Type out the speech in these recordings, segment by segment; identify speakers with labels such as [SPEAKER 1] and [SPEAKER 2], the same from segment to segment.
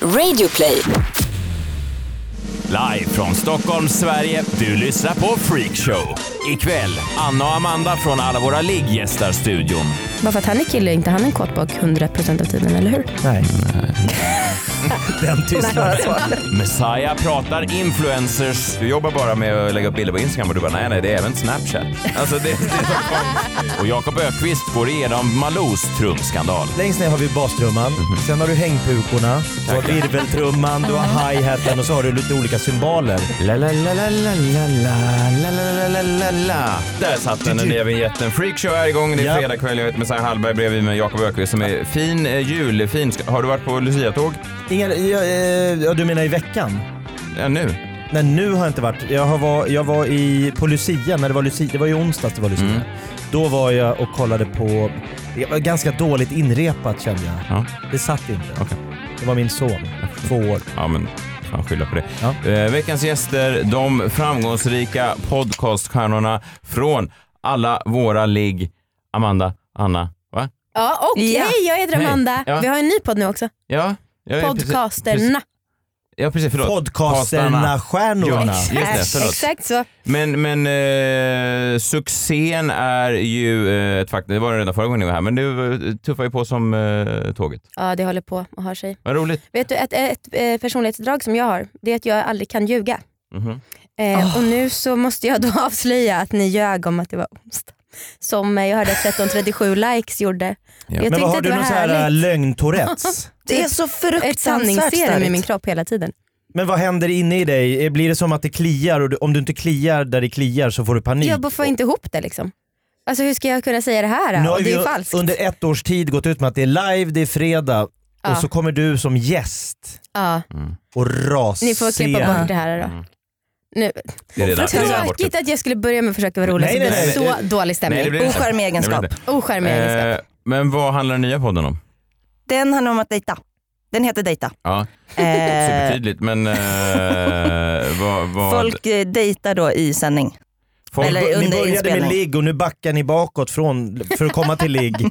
[SPEAKER 1] Radioplay.
[SPEAKER 2] Live från Stockholm, Sverige. Du lyssnar på Freakshow. Ikväll, Anna och Amanda från alla våra ligg gästar studion.
[SPEAKER 3] Bara för att han är kille är inte han en kåtbock 100% av tiden, eller hur?
[SPEAKER 4] Nej. Den tystnaden.
[SPEAKER 2] Messiah pratar influencers. Du jobbar bara med att lägga upp bilder på Instagram och du bara nej, nej, det är även Snapchat. Alltså det, det är så konstigt. Och Jakob Ökvist går igenom Malous trumskandal.
[SPEAKER 4] Längst ner har vi bastrumman,
[SPEAKER 2] Mhm.
[SPEAKER 4] sen har du hängpukorna, du har virveltrumman, du har hi-haten och så har du lite olika symboler.
[SPEAKER 2] La, la, la, la, la, la, la, la, la, la, la, la. Där satt den, den nya vinjetten. Freakshow är igång. Det är
[SPEAKER 4] Ja.
[SPEAKER 2] fredag kväll. Jag heter Messiah Hallberg bredvid mig Jakob Ökvist som är fin, eh, julfin. Ska- Har du varit på Lucia-tåg?
[SPEAKER 4] Inga, ja, eh, ja, du menar i veckan?
[SPEAKER 2] Ja, nu.
[SPEAKER 4] Nej, nu har jag inte varit. Jag, har var, jag var i, på Lucia, när det var Lucia, det var ju onsdags det var Lucia.
[SPEAKER 2] Mm.
[SPEAKER 4] Då var jag och kollade på, det var ganska dåligt inrepat kände jag.
[SPEAKER 2] Ja.
[SPEAKER 4] Det satt inte. Det var min son, två år.
[SPEAKER 2] Ja, men fan skylla på det.
[SPEAKER 4] Ja.
[SPEAKER 2] Eh, veckans gäster, de framgångsrika podcaststjärnorna från alla våra ligg. Amanda, Anna, va?
[SPEAKER 3] Ja, och
[SPEAKER 1] Ja.
[SPEAKER 3] hej jag heter
[SPEAKER 2] Hej.
[SPEAKER 3] Amanda.
[SPEAKER 2] Ja.
[SPEAKER 3] Vi har en ny podd nu också.
[SPEAKER 2] Ja, jag är precis- precis-
[SPEAKER 3] Podcasterna.
[SPEAKER 2] Ja, precis. Förlåt.
[SPEAKER 4] Podcasterna,
[SPEAKER 2] Ja,
[SPEAKER 4] stjärnorna.
[SPEAKER 2] just det. Förlåt.
[SPEAKER 3] Exakt så.
[SPEAKER 2] Men, men eh, succén är ju eh, ett faktum. Det var det redan förra gången ni var här, men du eh, tuffar ju på som eh, tåget.
[SPEAKER 3] Ja, det håller på och har sig.
[SPEAKER 2] Vad roligt.
[SPEAKER 3] Vet du, ett, ett, eh, personlighetsdrag som jag har, det är att jag aldrig kan ljuga.
[SPEAKER 2] Mhm.
[SPEAKER 3] Eh, Och nu så måste jag då avslöja att ni ljög om att det var onsdag. Som eh, jag hörde att 1337 likes gjorde.
[SPEAKER 2] Ja.
[SPEAKER 3] Jag
[SPEAKER 4] Men vad
[SPEAKER 3] tyckte
[SPEAKER 4] har
[SPEAKER 3] att det
[SPEAKER 4] du
[SPEAKER 3] var
[SPEAKER 4] någon sån här eh,
[SPEAKER 3] härligt.
[SPEAKER 4] lögn-tourettes?
[SPEAKER 5] Det är så
[SPEAKER 3] Ett
[SPEAKER 5] fruktansvärt
[SPEAKER 3] sanningsserum i min
[SPEAKER 5] starkt.
[SPEAKER 3] kropp hela tiden.
[SPEAKER 4] Men vad händer inne i dig? Eh, Blir det som att det kliar och du, om du inte kliar där det kliar så får du panik?
[SPEAKER 3] Jag bara får inte ihop det liksom. Alltså hur ska jag kunna säga det här?
[SPEAKER 4] nu
[SPEAKER 3] då?
[SPEAKER 4] har
[SPEAKER 3] Och det
[SPEAKER 4] vi
[SPEAKER 3] är ju falskt.
[SPEAKER 4] under ett års tid gått ut med att det är live, det är fredag
[SPEAKER 3] Ja.
[SPEAKER 4] och så kommer du som gäst
[SPEAKER 3] Ja.
[SPEAKER 4] och rasera.
[SPEAKER 3] Ni får klippa bort det här då. Nu.
[SPEAKER 2] Mm. Det är redan, det är redan borta.
[SPEAKER 3] Tråkigt att jag skulle börja med att försöka vara rolig
[SPEAKER 4] Nej,
[SPEAKER 3] så
[SPEAKER 4] nej,
[SPEAKER 3] blev det
[SPEAKER 2] nej,
[SPEAKER 3] så dålig stämning.
[SPEAKER 2] Nej, det blir det inte.
[SPEAKER 5] Ocharmig egenskap.
[SPEAKER 2] Det blir
[SPEAKER 3] Ocharmig
[SPEAKER 2] det inte.
[SPEAKER 3] egenskap.
[SPEAKER 2] Eh, men vad handlar den nya podden om?
[SPEAKER 5] Den handlar om att dejta. Den heter dejta.
[SPEAKER 2] Ja,
[SPEAKER 5] Eh,
[SPEAKER 2] supertydligt. Men eh, vad, vad,
[SPEAKER 5] folk eh, dejtar då i sändning.
[SPEAKER 2] folk-
[SPEAKER 5] eller-
[SPEAKER 4] Ni
[SPEAKER 5] under
[SPEAKER 4] började med
[SPEAKER 5] inspelning.
[SPEAKER 4] ligg och nu backar ni bakåt från, för att komma till ligg.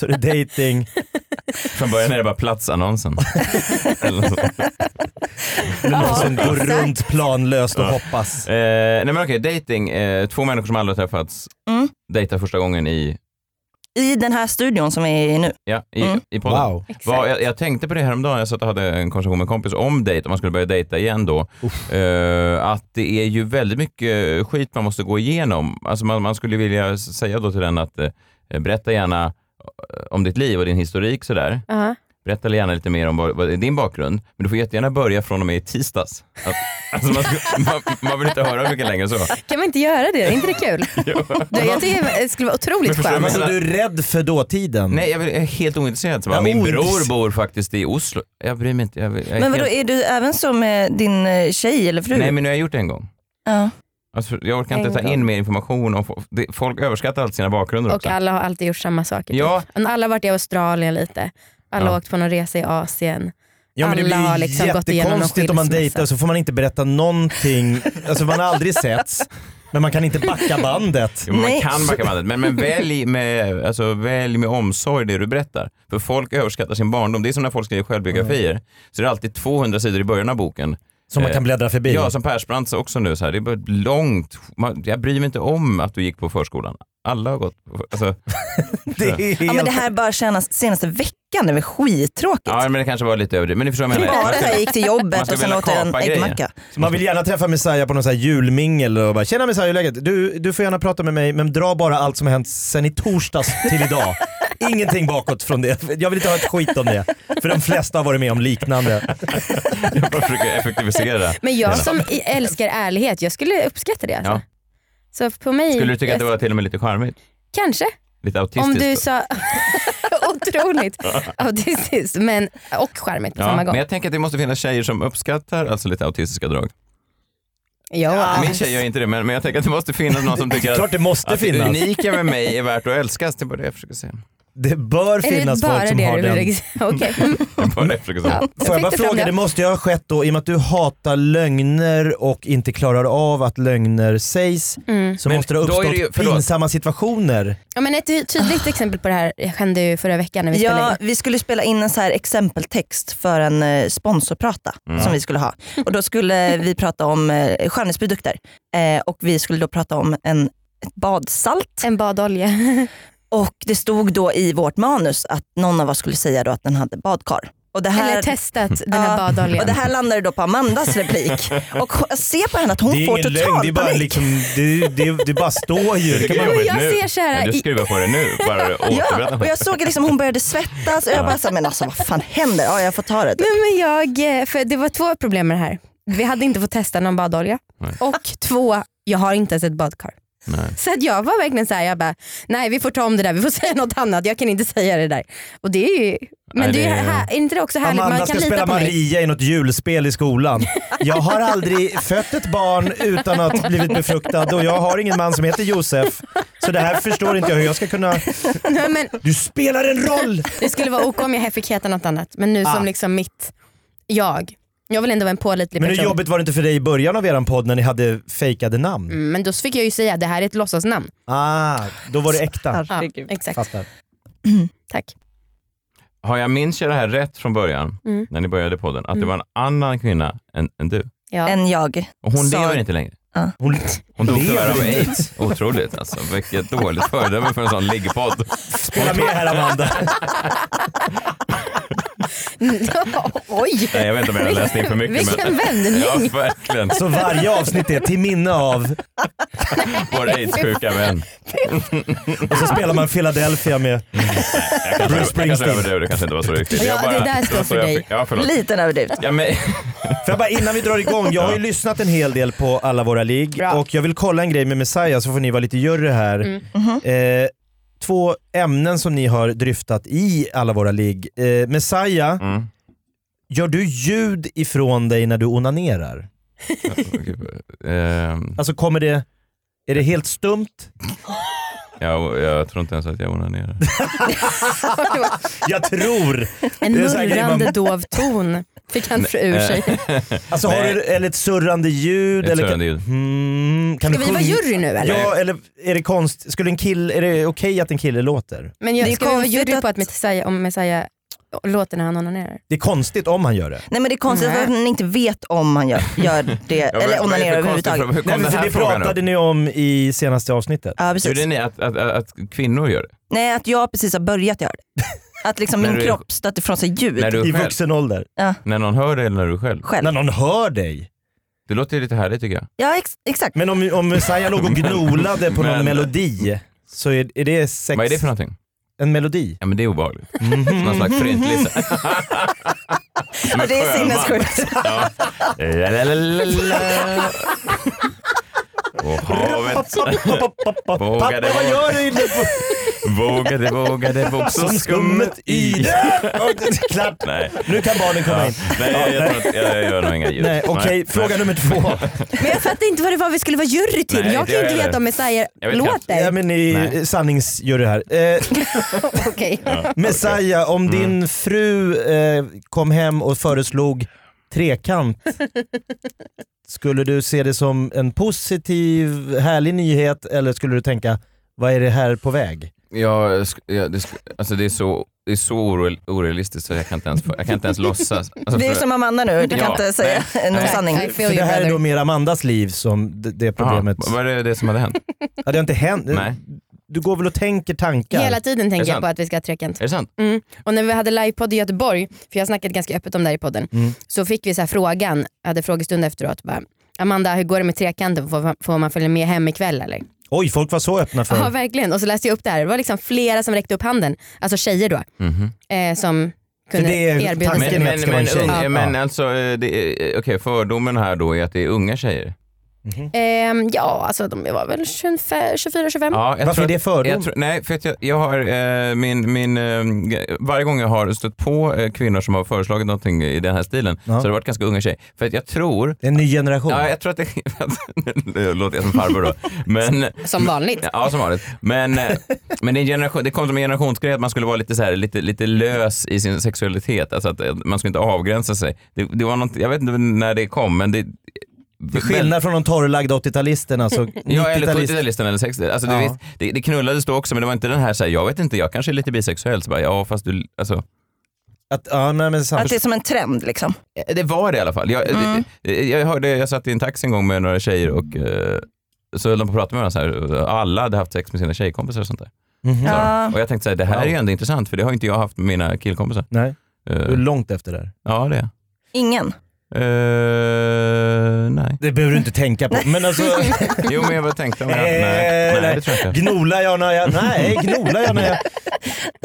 [SPEAKER 4] så det är dating.
[SPEAKER 2] Från början är det bara platsannonsen. Eller något sånt.
[SPEAKER 4] Det är någon som går runt planlöst och hoppas.
[SPEAKER 2] eh, nej men okej, dating. Eh, två människor som aldrig har träffats
[SPEAKER 5] Mm.
[SPEAKER 2] dejtar första gången i,
[SPEAKER 5] I den här studion som vi är i nu.
[SPEAKER 2] ja, i,
[SPEAKER 5] Mm.
[SPEAKER 2] i podden.
[SPEAKER 4] Wow.
[SPEAKER 2] Vad, jag, jag tänkte på det häromdagen, jag satt och hade en konversation med en kompis om dejt, om man skulle börja dejta igen då. Eh, att det är ju väldigt mycket skit man måste gå igenom. Alltså man, man skulle vilja s- säga då till den att eh, berätta gärna eh, om ditt liv och din historik sådär.
[SPEAKER 3] Ja.
[SPEAKER 2] Berätta gärna lite mer om vad, vad är din bakgrund, men du får jättegärna börja från och med i tisdags. Att, alltså man, skulle- man, man vill inte höra mycket längre så.
[SPEAKER 3] Kan man inte göra det? Är inte det kul? Du, jag tycker det skulle vara otroligt
[SPEAKER 2] Men förstår
[SPEAKER 3] skönt.
[SPEAKER 2] jag
[SPEAKER 4] Alltså
[SPEAKER 2] menar-
[SPEAKER 4] du är rädd för dåtiden?
[SPEAKER 2] Nej, jag, vill, jag är helt ointresserad. Så bara,
[SPEAKER 4] Ja,
[SPEAKER 2] min bror
[SPEAKER 4] ointresse-
[SPEAKER 2] bor faktiskt i Oslo. Jag bryr mig inte. Jag, vill- jag är
[SPEAKER 5] Men vadå,
[SPEAKER 2] helt...
[SPEAKER 5] är du även så med din eh, tjej eller fru?
[SPEAKER 2] Nej, men nu har jag gjort det en gång.
[SPEAKER 5] ja.
[SPEAKER 2] Alltså, jag orkar inte
[SPEAKER 3] En
[SPEAKER 2] ta
[SPEAKER 3] gång.
[SPEAKER 2] in mer information. Om, fo- det, folk överskattar alltid sina bakgrunder
[SPEAKER 3] Och
[SPEAKER 2] också.
[SPEAKER 3] alla har alltid gjort samma saker.
[SPEAKER 2] Ja.
[SPEAKER 3] typ. Men Alla har varit i Australien lite. Alla
[SPEAKER 2] Ja.
[SPEAKER 3] har åkt på någon resa i Asien.
[SPEAKER 4] Ja, men det
[SPEAKER 3] Alla
[SPEAKER 4] blir
[SPEAKER 3] har liksom gått igenom någon
[SPEAKER 4] jättekonstigt om man
[SPEAKER 3] skilsmässa.
[SPEAKER 4] dejtar så får man inte berätta någonting, alltså man har aldrig setts, men man kan inte backa bandet.
[SPEAKER 2] Jo, men man
[SPEAKER 5] Nej.
[SPEAKER 2] kan backa bandet, men, men välj, med, alltså, välj med omsorg det du berättar. För folk överskattar sin barndom. Det är som när folk skriver självbiografier.
[SPEAKER 5] Mm.
[SPEAKER 2] Så det är alltid 200 sidor i början av boken.
[SPEAKER 4] Som man
[SPEAKER 2] Eh,
[SPEAKER 4] kan bläddra förbi.
[SPEAKER 2] Ja, som Persbrandt sa också nu, så här, det är bara ett långt. Man, jag bryr mig inte om att du gick på förskolan. Alla har gått på alltså,
[SPEAKER 4] det är helt...
[SPEAKER 5] ja men det här bara kännas senaste veckan, det är väl skittråkigt.
[SPEAKER 2] Ja, men det kanske var lite överdrivet. Men ni förstår vad jag menar.
[SPEAKER 5] Bara att jag gick till
[SPEAKER 2] Man
[SPEAKER 5] jobbet
[SPEAKER 2] ska
[SPEAKER 5] och sen
[SPEAKER 2] vilja
[SPEAKER 5] åt jag en
[SPEAKER 2] kapa grejer.
[SPEAKER 5] äggmacka.
[SPEAKER 4] Man vill gärna träffa Messiah på någon sån här julmingel och bara “tjena Messiah, hur är läget? Du, du får gärna prata med mig men dra bara allt som har hänt sen i torsdags till idag. Ingenting bakåt från det. Jag vill inte ha ett skit om det. För de flesta har varit med om liknande.
[SPEAKER 2] Jag bara försöker effektivisera.
[SPEAKER 3] Men jag som i- älskar ärlighet, jag skulle uppskatta det. Alltså.
[SPEAKER 2] Ja.
[SPEAKER 3] Så på mig,
[SPEAKER 2] Skulle du tycka att det
[SPEAKER 3] jag-
[SPEAKER 2] var till och med lite charmigt?
[SPEAKER 3] Kanske.
[SPEAKER 2] Lite autistiskt?
[SPEAKER 3] Om du sa otroligt autistiskt men, och charmigt på
[SPEAKER 2] Ja,
[SPEAKER 3] samma gång.
[SPEAKER 2] men jag tänker att det måste finnas tjejer som uppskattar alltså lite autistiska drag.
[SPEAKER 3] Ja.
[SPEAKER 2] Min tjej gör inte det, men, men jag tänker att det måste finnas någon som tycker Alltså,
[SPEAKER 4] Klart
[SPEAKER 2] att,
[SPEAKER 4] det måste
[SPEAKER 2] att det
[SPEAKER 4] finnas.
[SPEAKER 2] unika med mig är värt att älskas. Det är bara det jag försöker säga.
[SPEAKER 4] Det bör
[SPEAKER 3] Är det
[SPEAKER 4] finnas
[SPEAKER 3] bara
[SPEAKER 4] folk som
[SPEAKER 3] det
[SPEAKER 4] har
[SPEAKER 3] du
[SPEAKER 4] den.
[SPEAKER 3] vill Okej. Mm.
[SPEAKER 2] Det var det jag försökte säga.
[SPEAKER 3] Ja,
[SPEAKER 4] Får jag
[SPEAKER 3] fick
[SPEAKER 4] bara
[SPEAKER 3] det fram
[SPEAKER 4] fråga,
[SPEAKER 3] det.
[SPEAKER 4] det måste ju ha skett då i och med att du hatar lögner och inte klarar av att lögner sägs
[SPEAKER 3] Mm.
[SPEAKER 4] så
[SPEAKER 2] Men
[SPEAKER 4] måste det ha
[SPEAKER 2] då är
[SPEAKER 4] uppstått
[SPEAKER 2] det ju- förlåt.
[SPEAKER 4] pinsamma situationer.
[SPEAKER 3] Ja, men ett ty- tydligt exempel på det här hände ju förra veckan när vi spelade
[SPEAKER 5] Ah. Ja,
[SPEAKER 3] in.
[SPEAKER 5] vi skulle spela in en så här exempeltext för en eh, sponsorprata
[SPEAKER 2] Mm.
[SPEAKER 5] som vi skulle ha. Och då skulle vi prata om eh, skönhetsprodukter. Eh, och vi skulle då prata om en, ett badsalt.
[SPEAKER 3] En badolja.
[SPEAKER 5] Och det stod då i vårt manus att någon av oss skulle säga då att den hade badkar. Och det här,
[SPEAKER 3] Eller testat den här
[SPEAKER 5] Ja, och
[SPEAKER 3] badoljan.
[SPEAKER 5] det här landade då på Amandas replik. Och hon- jag ser på henne att hon
[SPEAKER 4] det är
[SPEAKER 5] får
[SPEAKER 4] ingen
[SPEAKER 5] total
[SPEAKER 4] lögn, det är bara,
[SPEAKER 5] panik.
[SPEAKER 4] liksom, det, det, det bara står ju.
[SPEAKER 2] Det
[SPEAKER 4] Det
[SPEAKER 2] kan
[SPEAKER 4] kan
[SPEAKER 2] vara
[SPEAKER 4] man-
[SPEAKER 3] Men
[SPEAKER 2] jobbigt
[SPEAKER 3] jag
[SPEAKER 2] nu.
[SPEAKER 3] ser så här
[SPEAKER 2] Ja, Du
[SPEAKER 3] i-
[SPEAKER 2] skriver på det nu, bara återberätta.
[SPEAKER 5] Ja, och jag såg att liksom hon började svettas och jag bara, så här, men alltså vad fan händer? Ja, jag får ta det.
[SPEAKER 3] Nej, men jag, eh, för det var två problem med det här. Vi hade inte fått testa någon badolja
[SPEAKER 2] Nej.
[SPEAKER 3] och två, jag har inte ens ett badkar.
[SPEAKER 2] Nej.
[SPEAKER 3] Så att jag var verkligen så här, jag bara, nej vi får ta om det där, vi får säga något annat, jag kan inte säga det där. Och det är ju, men
[SPEAKER 2] Nej,
[SPEAKER 3] det är,
[SPEAKER 2] det
[SPEAKER 3] ju
[SPEAKER 2] är-
[SPEAKER 3] här, är inte det också härligt?
[SPEAKER 4] Amanda
[SPEAKER 3] Man
[SPEAKER 4] ska
[SPEAKER 3] kan lita
[SPEAKER 4] spela
[SPEAKER 3] på mig.
[SPEAKER 4] Maria i något julspel i skolan. Jag har aldrig fött ett barn utan att blivit befruktad och jag har ingen man som heter Josef. Så det här förstår inte jag hur jag ska kunna...
[SPEAKER 3] Nej, men
[SPEAKER 4] Du spelar en roll!
[SPEAKER 3] det skulle vara ok om jag fick heta något annat, men nu
[SPEAKER 4] Ah.
[SPEAKER 3] som liksom mitt jag. Jag vill ändå vara en pålitlig
[SPEAKER 4] Men hur
[SPEAKER 3] person.
[SPEAKER 4] jobbigt var det inte för dig i början av eran podd när ni hade fejkade namn?
[SPEAKER 3] Mm, men då fick jag ju säga, det här är ett låtsasnamn.
[SPEAKER 4] Ah, då var det äkta.
[SPEAKER 3] Ja,
[SPEAKER 5] Herregud.
[SPEAKER 3] exakt,
[SPEAKER 4] Fattar.
[SPEAKER 3] tack.
[SPEAKER 2] Har jag minns jag det här rätt från början,
[SPEAKER 3] Mm.
[SPEAKER 2] när ni började podden, att det
[SPEAKER 3] Mm.
[SPEAKER 2] var en annan kvinna än, än du?
[SPEAKER 3] Ja.
[SPEAKER 5] En jag.
[SPEAKER 2] Och hon
[SPEAKER 5] Sa-
[SPEAKER 2] lever inte längre.
[SPEAKER 4] Hon,
[SPEAKER 2] Hon dog
[SPEAKER 4] Lever
[SPEAKER 2] tyvärr av
[SPEAKER 4] inte.
[SPEAKER 2] aids. Otroligt alltså. Vilket dåligt föredöme för en sån liggpodd.
[SPEAKER 4] spela med här Amanda.
[SPEAKER 3] Oj!
[SPEAKER 2] Nej, jag vet inte om jag har läst in för mycket.
[SPEAKER 3] Vilken
[SPEAKER 2] Men...
[SPEAKER 3] vändning!
[SPEAKER 2] Ja, verkligen.
[SPEAKER 4] Så varje avsnitt är till minne av
[SPEAKER 2] Vår aidssjuka vän.
[SPEAKER 4] och så spelar man Philadelphia med
[SPEAKER 2] Jag kanske-
[SPEAKER 4] Bruce
[SPEAKER 2] Jag kanske
[SPEAKER 4] Springsteen.
[SPEAKER 2] överdrev, det kanske inte var så riktigt.
[SPEAKER 3] Ja,
[SPEAKER 2] Jag
[SPEAKER 3] det där står
[SPEAKER 2] var så
[SPEAKER 3] för
[SPEAKER 2] jag
[SPEAKER 3] dig.
[SPEAKER 2] fick- Ja, förlåt.
[SPEAKER 5] Liten överdrift.
[SPEAKER 2] Ja, men...
[SPEAKER 4] För jag bara, innan vi drar igång, jag har ju lyssnat en hel del på alla våra ligg
[SPEAKER 5] Bra.
[SPEAKER 4] och jag vill kolla en grej med Messiah så får ni vara lite jury här. Eh, två ämnen som ni har dryftat i alla våra ligg. Eh, Messiah,
[SPEAKER 2] mm.
[SPEAKER 4] gör du ljud ifrån dig när du onanerar?
[SPEAKER 2] Ehm,
[SPEAKER 4] Alltså kommer det, är det helt stumt?
[SPEAKER 2] jag, jag tror inte ens att jag onanerar.
[SPEAKER 4] Jag tror!
[SPEAKER 3] En
[SPEAKER 4] Det är så här grejer man- eh,
[SPEAKER 3] murrande dov ton fick han fru ur sig.
[SPEAKER 4] Alltså har
[SPEAKER 2] Nej.
[SPEAKER 4] du, eller ett surrande ljud?
[SPEAKER 2] Ett
[SPEAKER 4] eller
[SPEAKER 2] surrande ljud.
[SPEAKER 4] Mm, kan
[SPEAKER 3] Ska
[SPEAKER 4] du
[SPEAKER 3] vi vara
[SPEAKER 4] sjunga-
[SPEAKER 3] jury nu eller?
[SPEAKER 4] Ja, eller är det konst, skulle en kille, är det okej att en kille låter?
[SPEAKER 3] Men jag,
[SPEAKER 5] Det är
[SPEAKER 3] ska vi vara
[SPEAKER 5] konstigt
[SPEAKER 3] jury på
[SPEAKER 5] att-
[SPEAKER 3] att Messiah, om Messiah låter när han onanerar?
[SPEAKER 4] Det är konstigt om han gör det.
[SPEAKER 5] Nej men det är konstigt
[SPEAKER 3] Nej.
[SPEAKER 5] att man inte vet om han gör, gör det
[SPEAKER 2] Ja,
[SPEAKER 5] eller
[SPEAKER 2] men vad är det
[SPEAKER 5] onanerar
[SPEAKER 2] för konstig
[SPEAKER 5] överhuvudtaget.
[SPEAKER 2] fråga? Hur
[SPEAKER 4] Nej,
[SPEAKER 2] kom
[SPEAKER 4] men
[SPEAKER 2] den
[SPEAKER 4] för
[SPEAKER 2] här
[SPEAKER 4] det
[SPEAKER 2] frågan
[SPEAKER 4] pratade
[SPEAKER 2] upp?
[SPEAKER 4] ni om i senaste avsnittet.
[SPEAKER 5] Ja, precis.
[SPEAKER 2] Gjorde ni att, att, att, att kvinnor gör det?
[SPEAKER 5] Nej att jag precis har börjat göra det. Att liksom
[SPEAKER 2] När
[SPEAKER 5] min
[SPEAKER 2] du-
[SPEAKER 5] kropp stöter ifrån sig ljud.
[SPEAKER 2] När du
[SPEAKER 4] I
[SPEAKER 2] själv?
[SPEAKER 4] vuxen ålder.
[SPEAKER 2] När någon hör det eller när du själv?
[SPEAKER 5] själv.
[SPEAKER 4] När någon hör dig.
[SPEAKER 2] Det låter ju lite härligt tycker jag.
[SPEAKER 5] Ja ex exakt.
[SPEAKER 4] Men om, om Messiah låg och gnolade på någon
[SPEAKER 2] Men-
[SPEAKER 4] melodi så är, är det sex...
[SPEAKER 2] Vad är det för någonting?
[SPEAKER 4] En melodi?
[SPEAKER 2] Ja men det är obehagligt. Som någon slags förintlista. Som
[SPEAKER 5] Ja,
[SPEAKER 2] en
[SPEAKER 5] det är
[SPEAKER 2] sjöman.
[SPEAKER 5] sinnessjukt.
[SPEAKER 2] Ja. Lalalala. Och havet Vågade
[SPEAKER 4] Pappa vad gör du? inne på-
[SPEAKER 2] vågade, vågade, våg så
[SPEAKER 4] Som
[SPEAKER 2] skummet i det.
[SPEAKER 4] Klart.
[SPEAKER 2] Nej,
[SPEAKER 4] Nu kan barnen komma
[SPEAKER 2] ja.
[SPEAKER 4] in.
[SPEAKER 2] Nej jag, tror inte, jag, jag gör nog inga ljud.
[SPEAKER 4] Nej, okej,
[SPEAKER 2] Nej.
[SPEAKER 4] fråga nummer två.
[SPEAKER 3] Men jag fattar inte vad det var vi skulle vara jury till.
[SPEAKER 2] Nej,
[SPEAKER 3] jag
[SPEAKER 2] det
[SPEAKER 3] kan ju inte
[SPEAKER 2] är det.
[SPEAKER 3] veta om Messiah
[SPEAKER 2] Jag vet
[SPEAKER 4] Ja,
[SPEAKER 3] låter.
[SPEAKER 4] men ni
[SPEAKER 2] Nej.
[SPEAKER 4] sanningsgör det här. Eh,
[SPEAKER 3] Okej.
[SPEAKER 4] Messiah, om
[SPEAKER 2] Mm.
[SPEAKER 4] din fru eh, kom hem och föreslog trekant, skulle du se det som en positiv, härlig nyhet eller skulle du tänka, vad är det här på väg?
[SPEAKER 2] Ja, sk- ja, det, sk- alltså det är så, det är så oreal, orealistiskt så jag kan inte ens, jag kan inte ens låtsas. Alltså,
[SPEAKER 5] Det är
[SPEAKER 2] för-
[SPEAKER 5] som Amanda nu, du kan
[SPEAKER 2] Ja.
[SPEAKER 5] inte säga någon
[SPEAKER 2] Nej.
[SPEAKER 5] sanning.
[SPEAKER 3] I
[SPEAKER 4] För
[SPEAKER 3] feel
[SPEAKER 4] det
[SPEAKER 3] you
[SPEAKER 4] här är då
[SPEAKER 3] brother.
[SPEAKER 4] mer Amandas liv som det, det
[SPEAKER 2] Jaha,
[SPEAKER 4] problemet.
[SPEAKER 2] vad är det, det som hade hänt?
[SPEAKER 4] Ja, det har inte hänt.
[SPEAKER 2] Nej.
[SPEAKER 4] Du går väl och tänker tankar?
[SPEAKER 3] Hela tiden
[SPEAKER 2] Är det
[SPEAKER 3] tänker jag
[SPEAKER 2] sant?
[SPEAKER 3] på att vi ska ha trekant.
[SPEAKER 2] Är det sant?
[SPEAKER 3] Mm. Och när vi hade livepodd i Göteborg, för jag har snackat ganska öppet om det här i podden,
[SPEAKER 4] Mm.
[SPEAKER 3] så fick vi så här frågan, jag hade frågestund efteråt, bara, Amanda hur går det med trekanten, får, får man följa med hem ikväll eller?
[SPEAKER 4] Oj, folk var så öppna för...
[SPEAKER 3] Ja verkligen, och så läste jag upp det här, det var liksom flera som räckte upp handen, alltså tjejer då,
[SPEAKER 2] Mhm.
[SPEAKER 3] eh, som kunde
[SPEAKER 4] det är
[SPEAKER 3] erbjuda sig.
[SPEAKER 4] tanken.
[SPEAKER 2] Men,
[SPEAKER 4] är att det
[SPEAKER 2] men,
[SPEAKER 4] ska vara en
[SPEAKER 2] men,
[SPEAKER 4] tjej.
[SPEAKER 2] unga,
[SPEAKER 4] Ja.
[SPEAKER 2] men alltså, eh, det är- okej fördomen här då är att det är unga tjejer.
[SPEAKER 4] Mhm.
[SPEAKER 3] Ehm, ja, alltså de var väl 24-25.
[SPEAKER 2] Ja, jag
[SPEAKER 4] Varför
[SPEAKER 2] tror
[SPEAKER 4] är det fördom?
[SPEAKER 2] Jag tror, nej, för att jag, jag har eh, min, min, eh, varje gång jag har stött på eh, kvinnor som har föreslagit någonting i den här stilen så har det varit ganska unga tjejer. För att jag tror,
[SPEAKER 4] Det är en ny generation.
[SPEAKER 2] ja, jag tror att det, nu låter jag som farbror då, men
[SPEAKER 3] Som vanligt.
[SPEAKER 2] Ja, som vanligt. Men, eh, men det, är en generation, det kom som en generationsgrej att man skulle vara lite, så här, lite, lite lös i sin sexualitet. Alltså att eh, man skulle inte avgränsa sig. Det, det var något, jag vet inte när det kom, men det...
[SPEAKER 4] Till skillnad från de torrlagda 80-talisterna så
[SPEAKER 2] Ja, eller
[SPEAKER 4] 90-talister.
[SPEAKER 2] 70-talistan eller 60 alltså,
[SPEAKER 4] Ja.
[SPEAKER 2] det, visst, det, det knullades då också, men det var inte den här, så här jag vet inte, jag kanske är lite bisexuell. Så bara, ja, fast du, alltså,
[SPEAKER 4] Att, ja, nej, men sant.
[SPEAKER 5] Att det är som en trend liksom.
[SPEAKER 2] Eh, Det var det i alla fall. Jag, jag, jag, hörde, jag satt i en taxi en gång med några tjejer och eh, så höll de på att prata med varandra så här. Alla hade haft sex med sina tjejkompisar och sånt där.
[SPEAKER 4] Mhm.
[SPEAKER 2] Så,
[SPEAKER 5] Ja.
[SPEAKER 2] Och jag tänkte så här, det här är ju
[SPEAKER 4] Wow.
[SPEAKER 2] ändå intressant för det har inte jag haft med mina killkompisar.
[SPEAKER 4] Nej,
[SPEAKER 2] Eh,
[SPEAKER 4] du är långt efter där.
[SPEAKER 2] ja, det är jag.
[SPEAKER 5] Ingen.
[SPEAKER 2] Eh, nej.
[SPEAKER 4] Det behöver du inte tänka på. Men alltså,
[SPEAKER 2] Jo, men jag bara tänkte om jag... Nej,
[SPEAKER 4] Eh,
[SPEAKER 2] nej,
[SPEAKER 4] nej.
[SPEAKER 2] det tror jag inte.
[SPEAKER 4] gnolar jag när jag... Nej, gnolar jag när jag...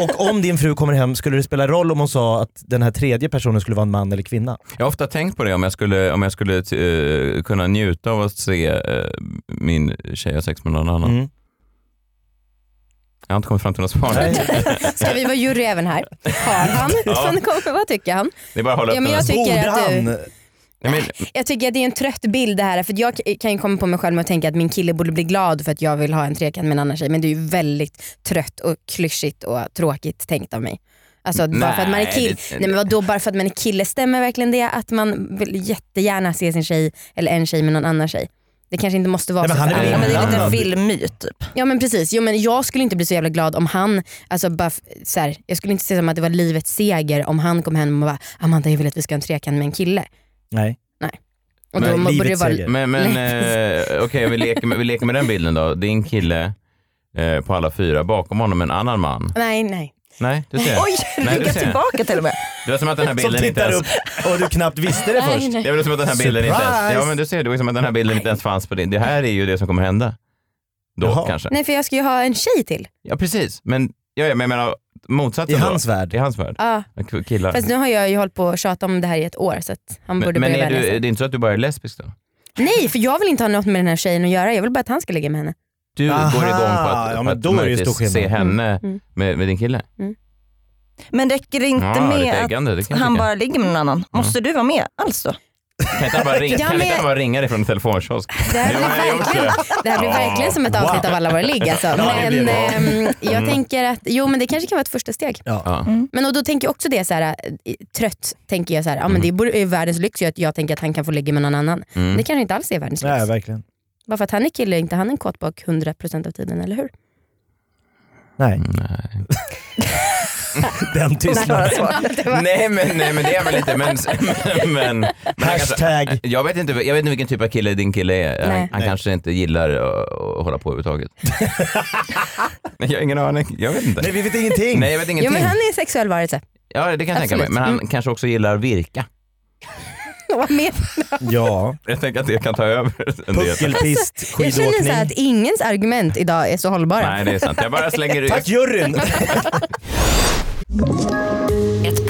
[SPEAKER 4] Och om din fru kommer hem, skulle det spela roll om hon sa att den här tredje personen skulle vara en man eller kvinna?
[SPEAKER 2] Jag har ofta tänkt på det om jag skulle, om jag skulle eh, kunna njuta av att se eh, min tjej ha sex med någon annan.
[SPEAKER 4] Mm.
[SPEAKER 2] Jag har inte kommit fram till något svar.
[SPEAKER 4] Nej.
[SPEAKER 3] Ska vi vara jury även här? Har han? Sen kommer, vad tycker han?
[SPEAKER 2] Det är bara att hålla
[SPEAKER 3] Ja,
[SPEAKER 2] upp
[SPEAKER 3] men
[SPEAKER 2] den.
[SPEAKER 3] jag tycker
[SPEAKER 4] Borde
[SPEAKER 3] att du-
[SPEAKER 4] han?
[SPEAKER 2] Nej, men-
[SPEAKER 3] Jag tycker att det är en trött bild det här. För att jag k- kan ju komma på mig själv med att tänka att min kille borde bli glad för att jag vill ha en trekant med en annan tjej. Men det är ju väldigt trött och klyschigt och tråkigt tänkt av mig. Alltså bara för att man är
[SPEAKER 2] Nej,
[SPEAKER 3] kille.
[SPEAKER 2] det-
[SPEAKER 3] Nej men vadå bara för att man är kille, stämmer verkligen det att man vill jättegärna se sin tjej eller en tjej med någon annan tjej? Det kanske inte måste vara
[SPEAKER 4] Nej, men
[SPEAKER 3] så.
[SPEAKER 4] han är
[SPEAKER 3] för
[SPEAKER 4] väl
[SPEAKER 3] alla.
[SPEAKER 5] Ja, men det är lite en
[SPEAKER 4] Inblandad.
[SPEAKER 5] filmmyt typ.
[SPEAKER 3] Ja men precis, jo, men jag skulle inte bli så jävla glad om han, alltså, bara, f- så här, jag skulle inte se som att det var livets seger om han kom hem och bara Amanda jag vill att vi ska ha en trekant med en kille.
[SPEAKER 4] Nej.
[SPEAKER 3] Och
[SPEAKER 2] Nej,
[SPEAKER 3] då borde det
[SPEAKER 4] livets
[SPEAKER 3] vara,
[SPEAKER 4] seger.
[SPEAKER 2] Men, men eh, okej, vi, leker med, vi leker med den bilden då. Din kille eh, på alla fyra, bakom honom en annan man.
[SPEAKER 3] Nej nej.
[SPEAKER 2] Nej, du ser.
[SPEAKER 5] Oj,
[SPEAKER 2] Nej,
[SPEAKER 5] vi
[SPEAKER 2] du
[SPEAKER 5] gick
[SPEAKER 2] ser.
[SPEAKER 5] tillbaka till och med.
[SPEAKER 2] Det var som att den här
[SPEAKER 4] Som
[SPEAKER 2] bilden inte
[SPEAKER 4] tittar
[SPEAKER 2] ens...
[SPEAKER 4] upp och du knappt visste det
[SPEAKER 3] Nej,
[SPEAKER 4] först.
[SPEAKER 3] nej.
[SPEAKER 2] Det var som att den här bilden inte ens...
[SPEAKER 4] Surprise!
[SPEAKER 2] Ja, men du ser, det var som att den här bilden inte ens fanns på din... Det här är ju det som kommer hända. Då
[SPEAKER 4] Jaha.
[SPEAKER 2] kanske.
[SPEAKER 3] Nej för jag ska ju ha en tjej till.
[SPEAKER 2] Ja, precis. Men, ja, ja, men jag menar
[SPEAKER 4] I
[SPEAKER 2] motsatsen
[SPEAKER 4] hans
[SPEAKER 2] då.
[SPEAKER 4] värld.
[SPEAKER 2] I hans värld.
[SPEAKER 3] Ja.
[SPEAKER 2] K- Killar.
[SPEAKER 3] Fast nu har jag ju hållit på och tjatat om det här i ett år så att han borde
[SPEAKER 2] men men
[SPEAKER 3] börja
[SPEAKER 2] är
[SPEAKER 3] vänja
[SPEAKER 2] du,
[SPEAKER 3] sig.
[SPEAKER 2] det är inte så att du bara är lesbisk då?
[SPEAKER 3] Nej för jag vill inte ha något med den här tjejen att göra, jag vill bara att han ska ligga med henne.
[SPEAKER 2] Du
[SPEAKER 4] Aha,
[SPEAKER 2] går igång på att,
[SPEAKER 4] ja,
[SPEAKER 2] på
[SPEAKER 4] men
[SPEAKER 2] att
[SPEAKER 4] då är det ju
[SPEAKER 2] möjligtvis
[SPEAKER 4] stor
[SPEAKER 2] se
[SPEAKER 4] skillnad.
[SPEAKER 2] henne
[SPEAKER 3] Mm.
[SPEAKER 2] Med, med din kille?
[SPEAKER 5] Men räcker det inte
[SPEAKER 2] ja, lite
[SPEAKER 5] med
[SPEAKER 2] äggande, det kan
[SPEAKER 5] att han
[SPEAKER 2] jag tycka. Mm.
[SPEAKER 5] bara ligger med någon annan? Måste du vara med alls då?
[SPEAKER 2] Kan inte han bara ringa,
[SPEAKER 3] Ja,
[SPEAKER 2] kan inte
[SPEAKER 3] men-
[SPEAKER 2] han bara ringa dig från en telefonkiosk?
[SPEAKER 3] Det här
[SPEAKER 2] Jo,
[SPEAKER 3] blir
[SPEAKER 2] jag gjort
[SPEAKER 3] verkligen, det här blir
[SPEAKER 2] Ja.
[SPEAKER 3] verkligen som ett avsnitt av Alla våra ligg alltså.
[SPEAKER 4] det blir
[SPEAKER 3] Men
[SPEAKER 4] det.
[SPEAKER 3] ehm, jag
[SPEAKER 2] Mm.
[SPEAKER 3] tänker att, jo men det kanske kan vara ett första steg.
[SPEAKER 2] Ja.
[SPEAKER 3] Men och då tänker jag också det, så här, eh, trött tänker jag så här, ja,
[SPEAKER 2] Mm.
[SPEAKER 3] men det borde- är världens lyx ju att jag tänker att han kan få ligga med någon annan. Men Det kanske inte alls är världens lyx.
[SPEAKER 4] Nej, verkligen.
[SPEAKER 3] Bara för att han är kille är inte han en kåtbock 100% av tiden, eller hur?
[SPEAKER 4] Nej.
[SPEAKER 2] Mm.
[SPEAKER 4] Den tystnaden.
[SPEAKER 2] Nej, men, nej men det är väl lite men... men, men, men han kanske,
[SPEAKER 4] Hashtag.
[SPEAKER 2] jag, vet inte, jag vet inte vilken typ av kille din kille är. Han,
[SPEAKER 3] Nej.
[SPEAKER 2] han kanske inte gillar att, att hålla på överhuvudtaget. Men jag har ingen aning. Jag vet inte.
[SPEAKER 4] Nej, vi vet ingenting.
[SPEAKER 2] Nej jag vet
[SPEAKER 3] Jo
[SPEAKER 2] ingenting.
[SPEAKER 3] men han är en sexuell varelse.
[SPEAKER 2] Ja det kan jag tänka mig.
[SPEAKER 3] Absolut.
[SPEAKER 2] Men han kanske också gillar virka.
[SPEAKER 3] Vad mer?
[SPEAKER 4] Ja.
[SPEAKER 2] Jag tänker att det kan ta över en del.
[SPEAKER 4] Puckelpist,
[SPEAKER 3] Jag känner så här att
[SPEAKER 4] skidåkning.
[SPEAKER 3] ingens argument idag är så hållbara.
[SPEAKER 2] Nej det är sant. Jag bara slänger ut.
[SPEAKER 4] Tack juryn!
[SPEAKER 1] Ett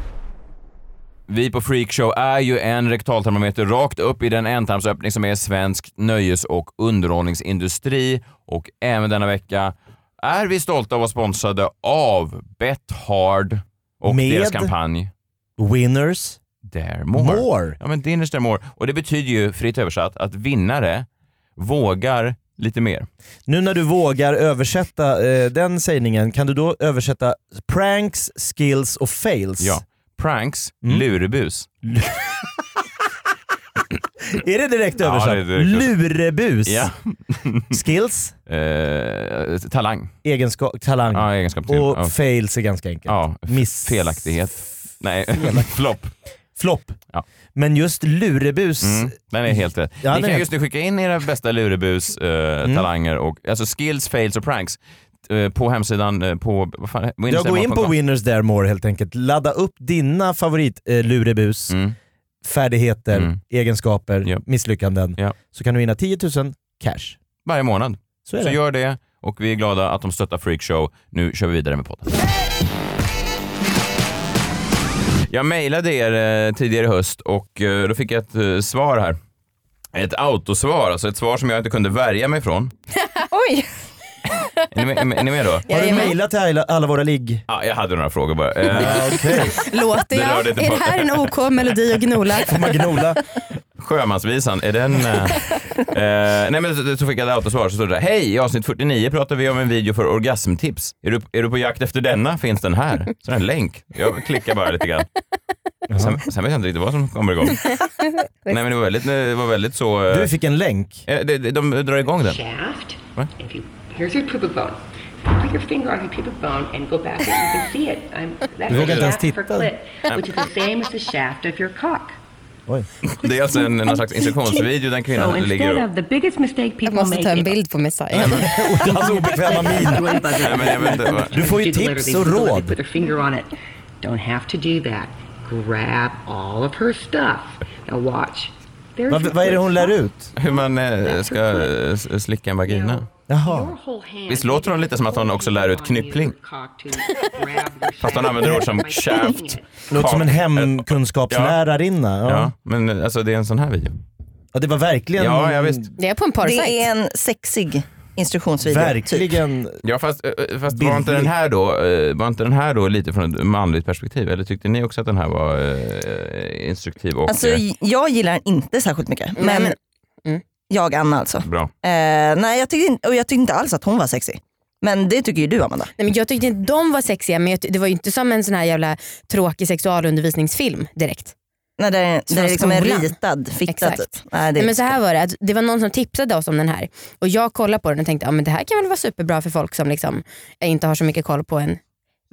[SPEAKER 2] Vi på Freakshow är ju en rektaltermometer rakt upp i den ändtarmsöppning som är svensk nöjes och underhållningsindustri. Och även denna vecka är vi stolta att vara sponsrade av Bet Hard och
[SPEAKER 4] Med?
[SPEAKER 2] deras kampanj
[SPEAKER 4] Winners
[SPEAKER 2] Dare More.
[SPEAKER 4] more.
[SPEAKER 2] Ja, men Dinners Dare More. Och det betyder ju, fritt översatt, att vinnare vågar lite mer.
[SPEAKER 4] Nu när du vågar översätta eh, den sägningen, kan du då översätta pranks, skills och fails?
[SPEAKER 2] Ja. Pranks,
[SPEAKER 4] Mm.
[SPEAKER 2] lurebus.
[SPEAKER 4] Är det direkt
[SPEAKER 2] Ja,
[SPEAKER 4] översatt?
[SPEAKER 2] det är direkt
[SPEAKER 4] Lurebus.
[SPEAKER 2] Ja.
[SPEAKER 4] Skills,
[SPEAKER 2] Eh, talang.
[SPEAKER 4] egenskap, talang.
[SPEAKER 2] Ja, egenskap till.
[SPEAKER 4] Mm. och
[SPEAKER 2] Ja.
[SPEAKER 4] fails är ganska enkelt.
[SPEAKER 2] Ja,
[SPEAKER 4] Miss...
[SPEAKER 2] felaktighet. Nej, flopp.
[SPEAKER 4] Flopp.
[SPEAKER 2] Ja.
[SPEAKER 4] Men just lurebus,
[SPEAKER 2] Mm, den är helt rätt.
[SPEAKER 4] Ja,
[SPEAKER 2] Ni
[SPEAKER 4] den
[SPEAKER 2] kan
[SPEAKER 4] är- Mm.
[SPEAKER 2] just nu skicka in era bästa luribus-talanger, och alltså skills, fails och pranks eh, på hemsidan eh, på... Vad fan,
[SPEAKER 4] jag går in på Winners There More helt enkelt. Ladda upp dina favorit eh, lurebus,
[SPEAKER 2] Mm.
[SPEAKER 4] färdigheter,
[SPEAKER 2] Mm.
[SPEAKER 4] egenskaper,
[SPEAKER 2] Ja.
[SPEAKER 4] misslyckanden.
[SPEAKER 2] Ja.
[SPEAKER 4] Så kan du vinna 10 000 cash.
[SPEAKER 2] Varje månad.
[SPEAKER 4] Så är
[SPEAKER 2] Så
[SPEAKER 4] det.
[SPEAKER 2] gör det och vi är glada att de stöttar Freakshow. Nu kör vi vidare med podden. Jag mejlade er eh, tidigare i höst och eh, då fick jag ett eh, svar här. Ett autosvar, alltså ett svar som jag inte kunde värja mig från.
[SPEAKER 3] Oj!
[SPEAKER 2] Är ni med, är ni med då?
[SPEAKER 4] Har du
[SPEAKER 3] Jajamän.
[SPEAKER 4] mejlat till alla, alla våra ligg?
[SPEAKER 2] Ja, jag hade några frågor bara. Eh,
[SPEAKER 3] Låter
[SPEAKER 2] Det
[SPEAKER 3] jag?
[SPEAKER 2] rörde inte
[SPEAKER 3] Är det
[SPEAKER 2] på-
[SPEAKER 3] här en OK melodi att gnola?
[SPEAKER 4] Magnola?
[SPEAKER 2] Eh. Sjömansvisan, är den... eh, eh, nej men så- så fick jag ett autosvar så stod det där. Hej, i avsnitt 49 pratar vi om en video för orgasmtips. Är du, är du på jakt efter denna? Finns den här? Så är det en länk. Jag klickar bara lite grann. Sen, sen vet jag inte riktigt vad som kommer igång. nej men det var väldigt, det var väldigt så... eh,
[SPEAKER 4] Du fick en länk.
[SPEAKER 2] eh, de, de, de drar igång den.
[SPEAKER 6] shaft.
[SPEAKER 2] What?
[SPEAKER 6] If you here's your pubic bone. Put your finger on your pubic bone and go back and you can see it. I'm, that's
[SPEAKER 4] vågar
[SPEAKER 6] the
[SPEAKER 4] inte ens
[SPEAKER 6] shaft for
[SPEAKER 4] titta.
[SPEAKER 6] clit, which is the same as the shaft of your cock.
[SPEAKER 4] Oj.
[SPEAKER 2] Det är alltså en, någon slags instruktionsvideo den
[SPEAKER 6] So
[SPEAKER 2] kvinnan ligger
[SPEAKER 6] instead
[SPEAKER 2] och...
[SPEAKER 6] of the biggest mistake
[SPEAKER 3] Jag
[SPEAKER 6] people
[SPEAKER 3] måste
[SPEAKER 6] make
[SPEAKER 3] ta en
[SPEAKER 6] is
[SPEAKER 3] bild på Messiah.
[SPEAKER 4] Hans obekväma min.
[SPEAKER 6] doing buzzing.
[SPEAKER 2] Nej, men jag vet inte. vad-
[SPEAKER 4] Du får ju
[SPEAKER 6] People
[SPEAKER 4] tips och
[SPEAKER 6] literally- people
[SPEAKER 4] råd.
[SPEAKER 6] literally Put their finger on it. Don't have to do that. Grab all of her stuff. Now watch. There's
[SPEAKER 4] Vad,
[SPEAKER 6] your
[SPEAKER 4] vad är det hon
[SPEAKER 6] clit.
[SPEAKER 4] lär ut?
[SPEAKER 2] Hur man eh, ska eh, s- slicka en vagina.
[SPEAKER 4] Jaha.
[SPEAKER 2] Visst låter hon lite som att hon också lär ut knyppling? Fast hon använder ord som shaft.
[SPEAKER 4] Låter som en hemkunskapslärarinna. Ja.
[SPEAKER 2] Ja,
[SPEAKER 4] Ja.
[SPEAKER 2] men eh, alltså det är en sån här video.
[SPEAKER 4] det var verkligen...
[SPEAKER 2] Ja, ja visst.
[SPEAKER 3] Det är på en porrsajt.
[SPEAKER 5] Det är en sexig instruktionsvideo. Typ.
[SPEAKER 4] Verkligen.
[SPEAKER 2] Ja, fast, eh, eh, fast var,
[SPEAKER 4] Bildligt.
[SPEAKER 2] inte den här då, eh, var inte den här då lite från ett manligt perspektiv? Eller tyckte ni också att den här var eh, instruktiv och
[SPEAKER 5] Alltså,
[SPEAKER 2] eh,
[SPEAKER 5] j- jag gillar den inte särskilt mycket. Men
[SPEAKER 3] men- Mm.
[SPEAKER 5] jag, Anna alltså.
[SPEAKER 2] bra?
[SPEAKER 5] Eh, nej, jag tyckte, inte- och jag tyckte inte alls att hon var sexig. Men det tycker ju du Amanda.
[SPEAKER 3] Nej, men jag tyckte inte de var sexiga men jag ty- det var ju inte som en sån här jävla tråkig sexualundervisningsfilm direkt.
[SPEAKER 5] När det,
[SPEAKER 3] Från
[SPEAKER 5] det är liksom en
[SPEAKER 3] skolan.
[SPEAKER 5] ritad fitta.
[SPEAKER 3] Exakt.
[SPEAKER 5] typ. Nej, det
[SPEAKER 3] Nej, men
[SPEAKER 5] är
[SPEAKER 3] så här var det, att det var någon som tipsade oss om den här och jag kollade på den och tänkte ja, men det här kan väl vara superbra för folk som liksom, eh, inte har så mycket koll på en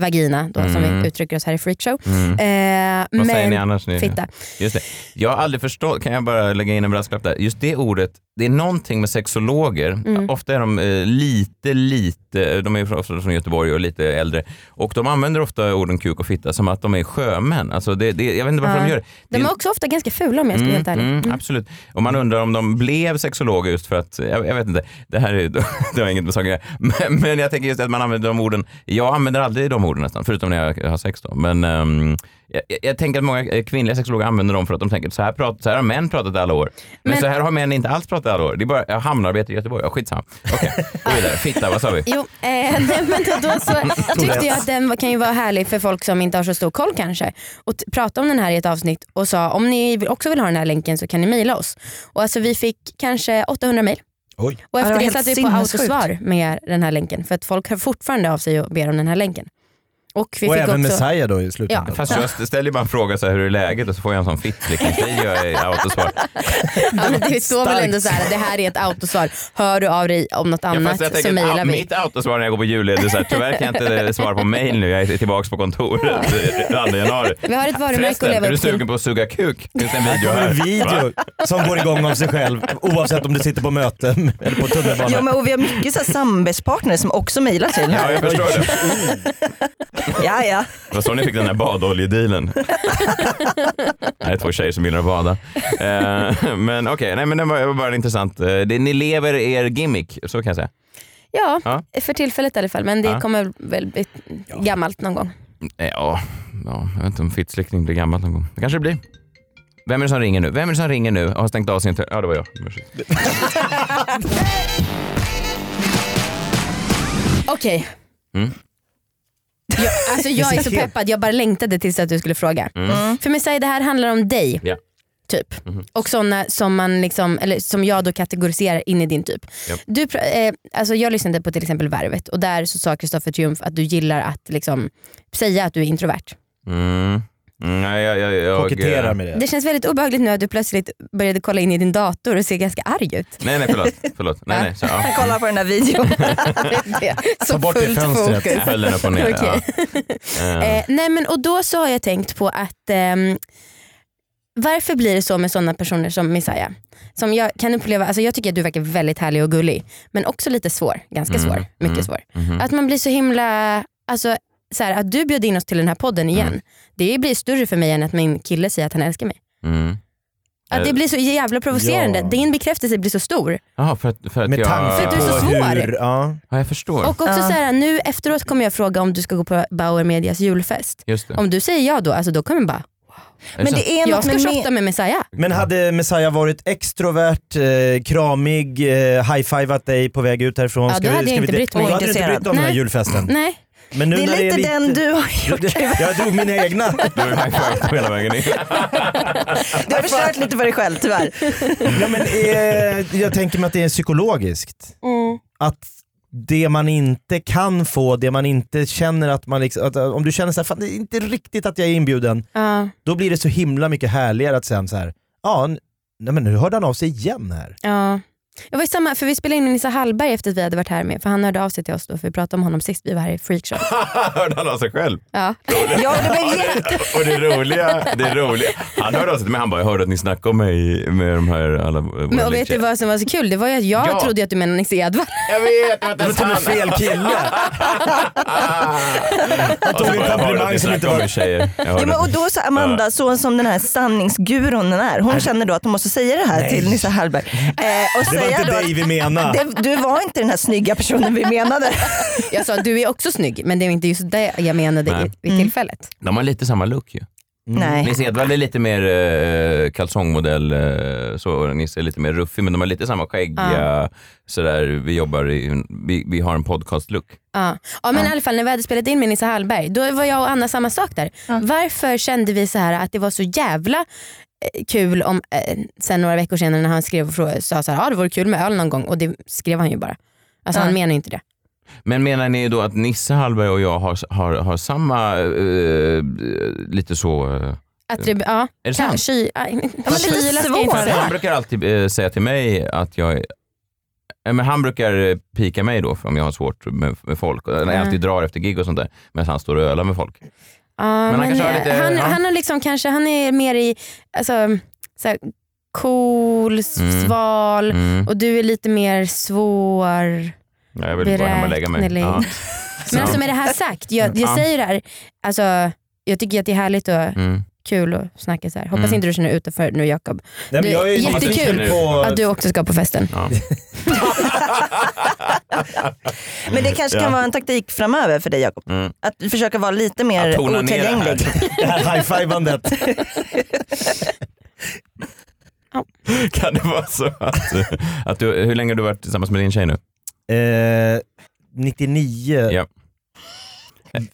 [SPEAKER 3] vagina då, som
[SPEAKER 2] Mm.
[SPEAKER 3] vi uttrycker oss här i freakshow.
[SPEAKER 2] Mm.
[SPEAKER 3] Eh,
[SPEAKER 2] Vad
[SPEAKER 3] men,
[SPEAKER 2] säger ni annars? Ni?
[SPEAKER 3] Fitta.
[SPEAKER 2] Just det. Jag har aldrig förstått, kan jag bara lägga in en brasklapp där, just det ordet, det är någonting med sexologer,
[SPEAKER 3] Mm.
[SPEAKER 2] ofta är de eh, lite, lite, de är ju ofta från Göteborg och lite äldre, och de använder ofta orden kuk och fitta som att de är sjömän. Alltså det, det, jag vet inte varför
[SPEAKER 3] Ja.
[SPEAKER 2] de gör det. det
[SPEAKER 3] De
[SPEAKER 2] är-
[SPEAKER 3] är också ofta ganska fula om jag ska vara helt ärlig.
[SPEAKER 2] Mm,
[SPEAKER 3] Mm.
[SPEAKER 2] Absolut. Och man undrar om de blev sexologer just för att, jag, jag vet inte, det här är, det har inget med saken att göra. men, men jag tänker just att man använder de orden, jag använder aldrig de orden nästan, förutom när jag har sex då. Men ehm, jag, jag- jag tänker att många eh, kvinnliga sexologer använder dem för att de tänker, så här, prat, så här har män pratat i alla år. Men,
[SPEAKER 3] Men-
[SPEAKER 2] så här har män inte alls pratat i alla år. Det är bara jag hamnarbete i Göteborg, ja, skitsamma. Okej, gå vidare. Fitta, vad sa vi?
[SPEAKER 3] Jo, eh, nej, men då, då så tyckte jag att den var- kan ju vara härlig för folk som inte har så stor koll kanske. Och t- prata om den här i ett avsnitt och sa om ni vill- också vill ha den här länken så kan ni mejla oss. Och alltså, vi fick kanske 800 mejl.
[SPEAKER 4] Oj.
[SPEAKER 3] Och efter
[SPEAKER 5] Ja, det var
[SPEAKER 3] det,
[SPEAKER 5] helt
[SPEAKER 3] satt vi på
[SPEAKER 5] sinnessjukt.
[SPEAKER 3] autosvar med den här länken för att folk hör fortfarande av sig och ber om den här länken. Och vi
[SPEAKER 4] Och
[SPEAKER 3] fick
[SPEAKER 4] även
[SPEAKER 3] också...
[SPEAKER 4] Messiah då i slutändan.
[SPEAKER 2] Fast jag st- ställer ju bara en fråga så här, hur är läget? Och så får jag en sån fittlickningsvideo i autosvar.
[SPEAKER 3] Ja, men det står väl
[SPEAKER 4] Starkt.
[SPEAKER 3] ändå så här, det här är ett autosvar. Hör du av dig om något
[SPEAKER 2] Ja,
[SPEAKER 3] annat
[SPEAKER 2] fast jag
[SPEAKER 3] så
[SPEAKER 2] tänker att
[SPEAKER 3] mejlar
[SPEAKER 2] ah,
[SPEAKER 3] vi.
[SPEAKER 2] mitt autosvar när jag går på julledigt är så här, tyvärr kan jag inte eh, svara på mail nu, jag är tillbaka på kontoret eh, 2 januari.
[SPEAKER 3] Vi har ett varumärke att
[SPEAKER 2] Förresten,
[SPEAKER 3] leva
[SPEAKER 2] är du
[SPEAKER 3] upp till.
[SPEAKER 2] sugen på att suga kuk? Finns det en video
[SPEAKER 4] En
[SPEAKER 2] här?
[SPEAKER 4] video som går igång av sig själv oavsett om du sitter på möten eller på tunnelbanan.
[SPEAKER 5] Ja, men, och vi har mycket så här samarbetspartner som också mejlar till den
[SPEAKER 2] Ja,
[SPEAKER 5] här.
[SPEAKER 2] jag förstår det.
[SPEAKER 5] Ja, ja.
[SPEAKER 2] Det var så ni fick den här badoljedealen. Det här är två tjejer som gillar att bada. Eh, Men okej, nej men det var bara intressant. Eh, Det, ni lever er gimmick, så kan jag säga.
[SPEAKER 3] Ja,
[SPEAKER 2] Ja.
[SPEAKER 3] för tillfället i alla fall. Men det
[SPEAKER 2] Ja.
[SPEAKER 3] kommer väl bli gammalt någon gång.
[SPEAKER 2] Eh, Ja, ja jag vet inte om fittslickning blir gammalt någon gång. Det kanske det blir. Vem är det som ringer nu? Vem är det som ringer nu och har stängt av sin... te- Ja, det var jag. Ursäkta.
[SPEAKER 3] Okej.
[SPEAKER 4] Mm.
[SPEAKER 3] Jag, alltså jag är så peppad, jag bara längtade tills att du skulle fråga.
[SPEAKER 4] Mm.
[SPEAKER 3] Mm. För mig säger det här handlar om dig.
[SPEAKER 2] Ja.
[SPEAKER 3] Typ.
[SPEAKER 4] Mm-hmm.
[SPEAKER 3] Och sådana som, man liksom, eller som jag då kategoriserar in i din typ.
[SPEAKER 2] Japp.
[SPEAKER 3] Du, pra- eh, alltså jag lyssnade på till exempel Värvet och där så sa Kristoffer Triumf att du gillar att liksom, säga att du är introvert.
[SPEAKER 2] Mm. Mm, Nej, jag... jag, jag
[SPEAKER 4] Koketterar med det.
[SPEAKER 3] Det känns väldigt obehagligt nu att du plötsligt började kolla in i din dator och ser ganska arg ut.
[SPEAKER 2] Nej, nej, förlåt. förlåt. Nej, nej, så, ja.
[SPEAKER 5] Jag kollar på den här videon.
[SPEAKER 3] så
[SPEAKER 4] bort det
[SPEAKER 3] fullt
[SPEAKER 4] fönstret.
[SPEAKER 2] Jag
[SPEAKER 3] fokus.
[SPEAKER 2] höll den upp och ner.
[SPEAKER 3] Okej.
[SPEAKER 2] Ja. Eh,
[SPEAKER 3] Eh, nej men och då så har jag tänkt på att ehm, Varför blir det så med sådana personer som Messiah? Som jag kan uppleva, alltså jag tycker att du verkar väldigt härlig och gullig. Men också lite svår, ganska
[SPEAKER 2] Mm,
[SPEAKER 3] svår, mycket
[SPEAKER 2] mm,
[SPEAKER 3] svår.
[SPEAKER 2] mhm.
[SPEAKER 3] Att man blir så himla, alltså så här, att du bjöd in oss till den här podden igen. Det blir större för mig än att min kille säger att han älskar mig.
[SPEAKER 2] Mm.
[SPEAKER 3] Att det
[SPEAKER 2] Eh,
[SPEAKER 3] blir så jävla provocerande.
[SPEAKER 4] ja.
[SPEAKER 3] Din bekräftelse blir så stor.
[SPEAKER 2] Jaha, för att, för att
[SPEAKER 4] Med
[SPEAKER 2] jag...
[SPEAKER 4] tanke
[SPEAKER 3] För
[SPEAKER 4] på
[SPEAKER 3] att du är så svår.
[SPEAKER 4] hur... Ja.
[SPEAKER 2] Ja, jag förstår.
[SPEAKER 3] Och också
[SPEAKER 5] Ja.
[SPEAKER 3] så här, nu efteråt kommer jag fråga om du ska gå på Bauer Medias julfest.
[SPEAKER 2] Just det.
[SPEAKER 3] Om du säger ja då, alltså då kommer jag bara,
[SPEAKER 2] Är
[SPEAKER 5] Men
[SPEAKER 2] så?
[SPEAKER 5] det är
[SPEAKER 3] jag
[SPEAKER 5] något
[SPEAKER 3] ska
[SPEAKER 5] med min-
[SPEAKER 3] shotta med Messiah.
[SPEAKER 4] Men hade Messiah varit extrovert, eh, kramig, eh, high-fivat dig på väg ut härifrån?
[SPEAKER 3] Ja, då hade jag inte brytt mig.
[SPEAKER 4] Då hade du inte
[SPEAKER 5] Intresserad.
[SPEAKER 4] brytt dig om den här
[SPEAKER 3] Nej.
[SPEAKER 4] julfesten.
[SPEAKER 3] Nej.
[SPEAKER 4] Men nu
[SPEAKER 5] Det är
[SPEAKER 4] när
[SPEAKER 5] lite den du har gjort.
[SPEAKER 4] Jag drog mina egna.
[SPEAKER 2] Du är high-five på hela vägen in.
[SPEAKER 5] Du har förstört lite för dig själv tyvärr.
[SPEAKER 4] Ja, men, eh, jag tänker mig att det är psykologiskt. Att det man inte kan få, det man inte känner att man liksom, att, eh, om du känner så här, fan det är inte riktigt att jag är inbjuden,
[SPEAKER 3] Ja,
[SPEAKER 4] då blir det så himla mycket härligare att sen så här, ja, n- nej, men nu hörde han av sig igen här.
[SPEAKER 3] ja. Jag var ju samma, för vi spelade in med Nissa Hallberg efter att vi hade varit här med, för han hörde av sig till oss då, för vi pratade om honom sist vi var här i freakshow.
[SPEAKER 2] Hörde han av sig själv?
[SPEAKER 3] Ja.
[SPEAKER 5] Ja, det var jätte...
[SPEAKER 2] Och det roliga, det roliga. Han hörde av sig till mig, han bara, jag hörde att ni snackade om mig med de här alla våra
[SPEAKER 3] Men och vet du
[SPEAKER 2] länktjejer."
[SPEAKER 3] vad som var så kul? Det var ju att jag
[SPEAKER 2] Ja.
[SPEAKER 3] trodde ju att du menade Nisse Edwall.
[SPEAKER 2] Jag vet, det var inte ens han.
[SPEAKER 4] fel kille.
[SPEAKER 2] Ah. Han
[SPEAKER 4] tog en komplimang som inte var-
[SPEAKER 2] tjejer. Jag hörde
[SPEAKER 5] Ja, men,
[SPEAKER 2] att-
[SPEAKER 5] och då så Amanda, så som den här sanningsguron den är, hon känner då att hon måste säga det här till Nissa Hallberg. Eh, och
[SPEAKER 4] Det var
[SPEAKER 5] säga
[SPEAKER 4] inte
[SPEAKER 5] då
[SPEAKER 4] dig vi
[SPEAKER 5] att,
[SPEAKER 4] menade.
[SPEAKER 5] det, du var inte den här snygga personen vi menade.
[SPEAKER 2] Mm,
[SPEAKER 3] Jag sa du är också snygg, men det är inte just det jag menade
[SPEAKER 2] Nej.
[SPEAKER 3] i, vid tillfället.
[SPEAKER 2] De har lite samma look ju.
[SPEAKER 5] Nej.
[SPEAKER 2] Nisse Edwall är lite mer eh, kalsongmodell, eh, så och Nisse är lite mer ruffig, men de har lite samma skäggiga, sådär, vi jobbar i, en- vi, vi har en podcast-look.
[SPEAKER 3] Ja. Ja, men i alla fall när vi hade spelat in med Nissa Hallberg, då var jag och Anna samma sak där. Varför kände vi så här att det var så jävla eh, kul om, eh, sen några veckor senare när han skrev och frågade, sa så här, ah, det vore kul med öl någon gång och det skrev han ju bara. Alltså
[SPEAKER 5] Ja.
[SPEAKER 3] han menar ju inte det.
[SPEAKER 2] Men menar ni då att Nisse Hallberg och jag har, har, har samma, eh, lite så... eh,
[SPEAKER 3] Att det, ja,
[SPEAKER 2] Är det sant?
[SPEAKER 3] Ky, ja,
[SPEAKER 5] men lite
[SPEAKER 3] kyla ska jag inte
[SPEAKER 5] svår.
[SPEAKER 3] säga.
[SPEAKER 2] Han brukar alltid eh, säga till mig att jag är- Eh, men han brukar eh, pika mig då för om jag har svårt med, med folk. Och När jag
[SPEAKER 3] Mm.
[SPEAKER 2] alltid drar efter gig och sånt där. Medan han står och ölar med folk.
[SPEAKER 3] Ja,
[SPEAKER 2] Men han
[SPEAKER 3] men
[SPEAKER 2] kanske har
[SPEAKER 3] eh,
[SPEAKER 2] lite-
[SPEAKER 3] han,
[SPEAKER 2] ja.
[SPEAKER 3] han, har liksom kanske, han är mer i alltså, så här, cool, s-
[SPEAKER 2] Mm.
[SPEAKER 3] sval
[SPEAKER 2] Mm.
[SPEAKER 3] och du är lite mer svår.
[SPEAKER 2] Ja, jag vill bara hem och lägga mig.
[SPEAKER 3] Beräknelig.
[SPEAKER 2] Ja.
[SPEAKER 3] Men alltså med det här sagt, jag, jag
[SPEAKER 2] Ja.
[SPEAKER 3] säger det här, alltså, jag tycker att det är härligt och
[SPEAKER 2] Mm.
[SPEAKER 3] kul att snacka så här. Hoppas
[SPEAKER 2] Mm.
[SPEAKER 3] inte du känner dig utanför nu Jakob.
[SPEAKER 4] Nej, men jag är
[SPEAKER 3] Det är
[SPEAKER 4] nyfiken
[SPEAKER 2] jättekul.
[SPEAKER 4] på-
[SPEAKER 3] Att du också ska på festen.
[SPEAKER 2] Ja.
[SPEAKER 5] Men det kanske kan vara en taktik framöver för dig Jakob.
[SPEAKER 2] Mm.
[SPEAKER 5] Att försöka vara lite mer
[SPEAKER 2] Att tona ner det här.
[SPEAKER 5] otillgänglig.
[SPEAKER 4] det här high-fivandet.
[SPEAKER 2] Kan det vara så att, att du, hur länge har du varit tillsammans med din tjej nu?
[SPEAKER 4] Eh, 99.
[SPEAKER 2] Ja.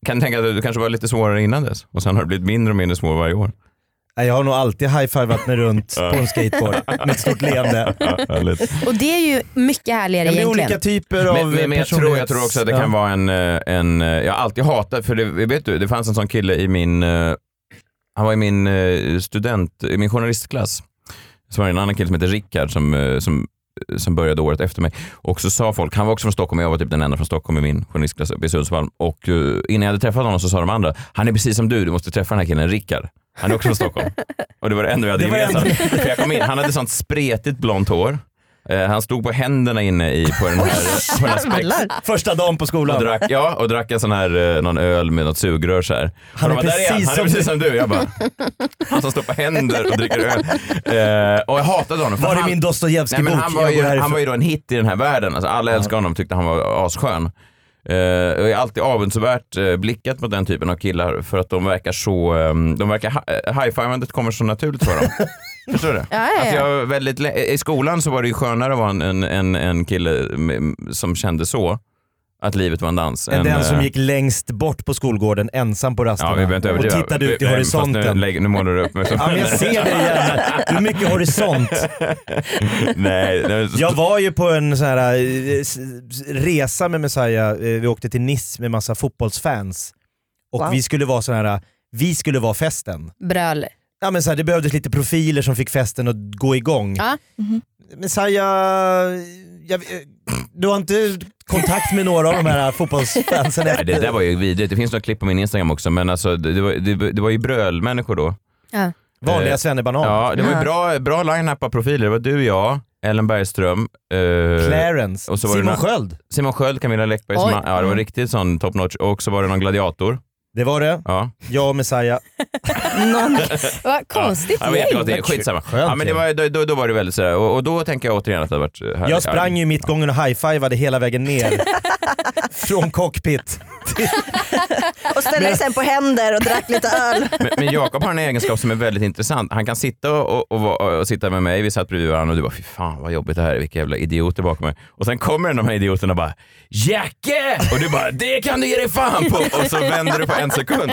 [SPEAKER 2] Kan du tänka dig att du kanske var lite svårare innan dess? Och sen har det blivit mindre och mindre svår varje år.
[SPEAKER 4] Nej, Jag har nog alltid high-fivat mig runt på en skateboard med ett stort leende.
[SPEAKER 2] Ja, härligt.
[SPEAKER 3] Och det är ju mycket härligare
[SPEAKER 4] Ja, men det är
[SPEAKER 3] egentligen.
[SPEAKER 4] olika typer av eh,
[SPEAKER 2] Men, men, men jag, tror, jag tror också att det
[SPEAKER 4] personlighets-
[SPEAKER 2] kan vara en, eh, en eh, jag har alltid hatat, för det, vet du, det fanns en sån kille i min, eh, han var i min eh, student, i min journalistklass. Så var det en annan kille som hette Rickard som, eh, som, som började året efter mig. Och så sa folk, han var också från Stockholm, jag var typ den enda från Stockholm i min journalistklass uppe i Sundsvall. Och eh, innan jag hade träffat honom så sa de andra, han är precis som du, du måste träffa den här killen Rickard. Han är också från Stockholm. Och det var det enda vi hade
[SPEAKER 4] Det var det enda.
[SPEAKER 2] gemensamt. För jag kom in, han hade sånt spretigt blont hår. Eh, Han stod på händerna inne i, på den här, på den här spex,
[SPEAKER 4] Första dagen på
[SPEAKER 2] och
[SPEAKER 4] skolan.
[SPEAKER 2] drack, ja, och drack en sån här, eh, någon öl med något sugrör så här.
[SPEAKER 4] Han
[SPEAKER 2] Och
[SPEAKER 4] är
[SPEAKER 2] de bara, "Där han,
[SPEAKER 4] precis
[SPEAKER 2] han
[SPEAKER 4] som
[SPEAKER 2] är precis som du. Jag bara, han som står på händer och dricker öl. Eh, och jag hatade honom. för
[SPEAKER 4] Var är
[SPEAKER 2] han-
[SPEAKER 4] min
[SPEAKER 2] Nej, men
[SPEAKER 4] Dostojevskij-bok?
[SPEAKER 2] han, var
[SPEAKER 4] Jag
[SPEAKER 2] ju,
[SPEAKER 4] går
[SPEAKER 2] han
[SPEAKER 4] härifrån.
[SPEAKER 2] var ju då en hit i den här världen. Alltså, alla älskade honom tyckte han var asskön. Eh, jag är alltid avundsvärt eh, blickat mot den typen av killar för att de verkar så... eh, de verkar hi- high-fivandet kommer så naturligt för dem. Förstår du?
[SPEAKER 3] Ja, ja,
[SPEAKER 2] Att
[SPEAKER 3] ja.
[SPEAKER 2] jag var väldigt, lä- I skolan så var det ju skönare att vara en, en, en, en kille med, som kände så. Att livet var en dans.
[SPEAKER 4] Än
[SPEAKER 2] än,
[SPEAKER 4] den som
[SPEAKER 2] eh,
[SPEAKER 4] gick längst bort på skolgården ensam på
[SPEAKER 2] Ja,
[SPEAKER 4] rasterna
[SPEAKER 2] vi behöver inte
[SPEAKER 4] och
[SPEAKER 2] överdriva.
[SPEAKER 4] tittade ut i
[SPEAKER 2] Eh, fast Nu,
[SPEAKER 4] horisonten.
[SPEAKER 2] lägg- nu målar du upp mig som
[SPEAKER 4] Ja, men jag ser det igen. Det är mycket horisont.
[SPEAKER 2] Nej, det är så-
[SPEAKER 4] Jag var ju på en sån här eh, s- s- resa med Messiah. Eh, Vi åkte till Nice med massa fotbollsfans. Och
[SPEAKER 5] Wow.
[SPEAKER 4] vi skulle vara sån här, eh, vi skulle vara festen.
[SPEAKER 3] Bröl.
[SPEAKER 4] Ja, men så här, det behövdes lite profiler som fick festen att gå igång. Mm-hmm.
[SPEAKER 3] Ja.
[SPEAKER 4] Messiah, jag, eh, du har inte kontakt med några av de här fotbollsfansen?
[SPEAKER 2] Nej, det
[SPEAKER 4] efter-
[SPEAKER 2] där var ju vidrigt. Det finns några klipp på min Instagram också, men alltså, det, det, var, det, det var ju brölmänniskor då.
[SPEAKER 3] Ja.
[SPEAKER 4] Vanliga
[SPEAKER 2] Eh,
[SPEAKER 4] svennebanan.
[SPEAKER 2] Ja, det var ju
[SPEAKER 5] Ja.
[SPEAKER 2] bra, bra line-up av profiler. Det var du, jag, Ellen Bergström, eh,
[SPEAKER 4] Clarence.
[SPEAKER 2] och så var det
[SPEAKER 4] Simon
[SPEAKER 2] några-
[SPEAKER 4] Sköld.
[SPEAKER 2] Simon Sköld, Camilla Läckberg. Som,
[SPEAKER 3] Oj.
[SPEAKER 2] ja, det var riktigt sån top notch. Och så var det någon gladiator.
[SPEAKER 4] Det var det.
[SPEAKER 2] Ja.
[SPEAKER 4] Jag och Messiah.
[SPEAKER 5] Någon,
[SPEAKER 3] Vad konstigt
[SPEAKER 2] Ja, men
[SPEAKER 3] gäng.
[SPEAKER 2] jättegott, det är skitsamma.
[SPEAKER 4] Skönt
[SPEAKER 2] Ja, men det
[SPEAKER 4] ju.
[SPEAKER 2] var, då, då, då var det väldigt sådär. Och, och då tänker jag återigen att det hade varit härligt.
[SPEAKER 4] Jag sprang ju i mittgången och high-fivade hela vägen ner. Från cockpit.
[SPEAKER 5] och ställde sig sen på händer och drack lite öl.
[SPEAKER 2] Men, men Jakob har en egenskap som är väldigt intressant. Han kan sitta och, och, och, vara- och sitta med mig, vi satt bredvid varandra och du bara fy fan vad jobbigt det här är, vilka jävla idioter bakom mig. Och sen kommer de här idioterna och bara Jacke! Och du bara det kan du ge dig fan på! Och så vänder du på en sekund.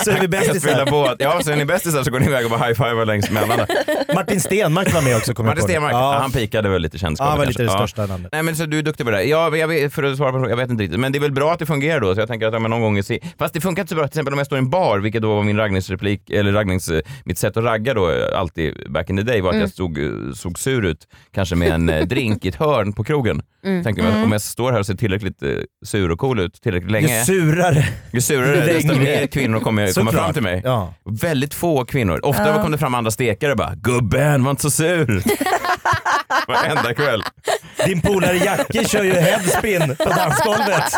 [SPEAKER 4] Så är vi
[SPEAKER 2] Jag spelar
[SPEAKER 4] bästisar.
[SPEAKER 2] på att, ja, så är ni bästisar så går ni iväg och bara high-fivar längs mellan.
[SPEAKER 4] Martin Stenmark var med också kommer jag
[SPEAKER 2] Martin
[SPEAKER 4] på det.
[SPEAKER 2] Stenmarck,
[SPEAKER 4] Ja.
[SPEAKER 2] han pikade väl lite känns
[SPEAKER 4] Ja, han var
[SPEAKER 2] kanske.
[SPEAKER 4] lite det
[SPEAKER 2] Ja.
[SPEAKER 4] största namnet.
[SPEAKER 2] Nej men så du är duktig på det där. Ja, jag vet, för att svara på frågan, jag vet inte riktigt. Men det är väl bra att det fungerar då, så jag tänker att ja, men någon gång... i Se... Fast det funkar inte så bra till exempel om jag står i en bar, vilket då var min raggningsreplik, eller raggnings... eh, Mitt sätt att ragga då eh, alltid back in the day var att jag stod, eh, såg sur ut, kanske med en eh, drink i ett hörn på krogen. Tänkte jag, om jag står här och ser tillräckligt eh, sur och cool ut tillräckligt länge,
[SPEAKER 4] Ju surare.
[SPEAKER 2] ju surare, desto
[SPEAKER 4] Länge.
[SPEAKER 2] mer kvinnor kommer komma
[SPEAKER 4] Såklart.
[SPEAKER 2] fram till mig.
[SPEAKER 4] Ja.
[SPEAKER 2] Väldigt få kvinnor. Ofta kom det fram andra stekare och bara “gubben, var inte så sur”. Varenda kväll.
[SPEAKER 4] Din polare Jacke kör ju headspin på dansgolvet.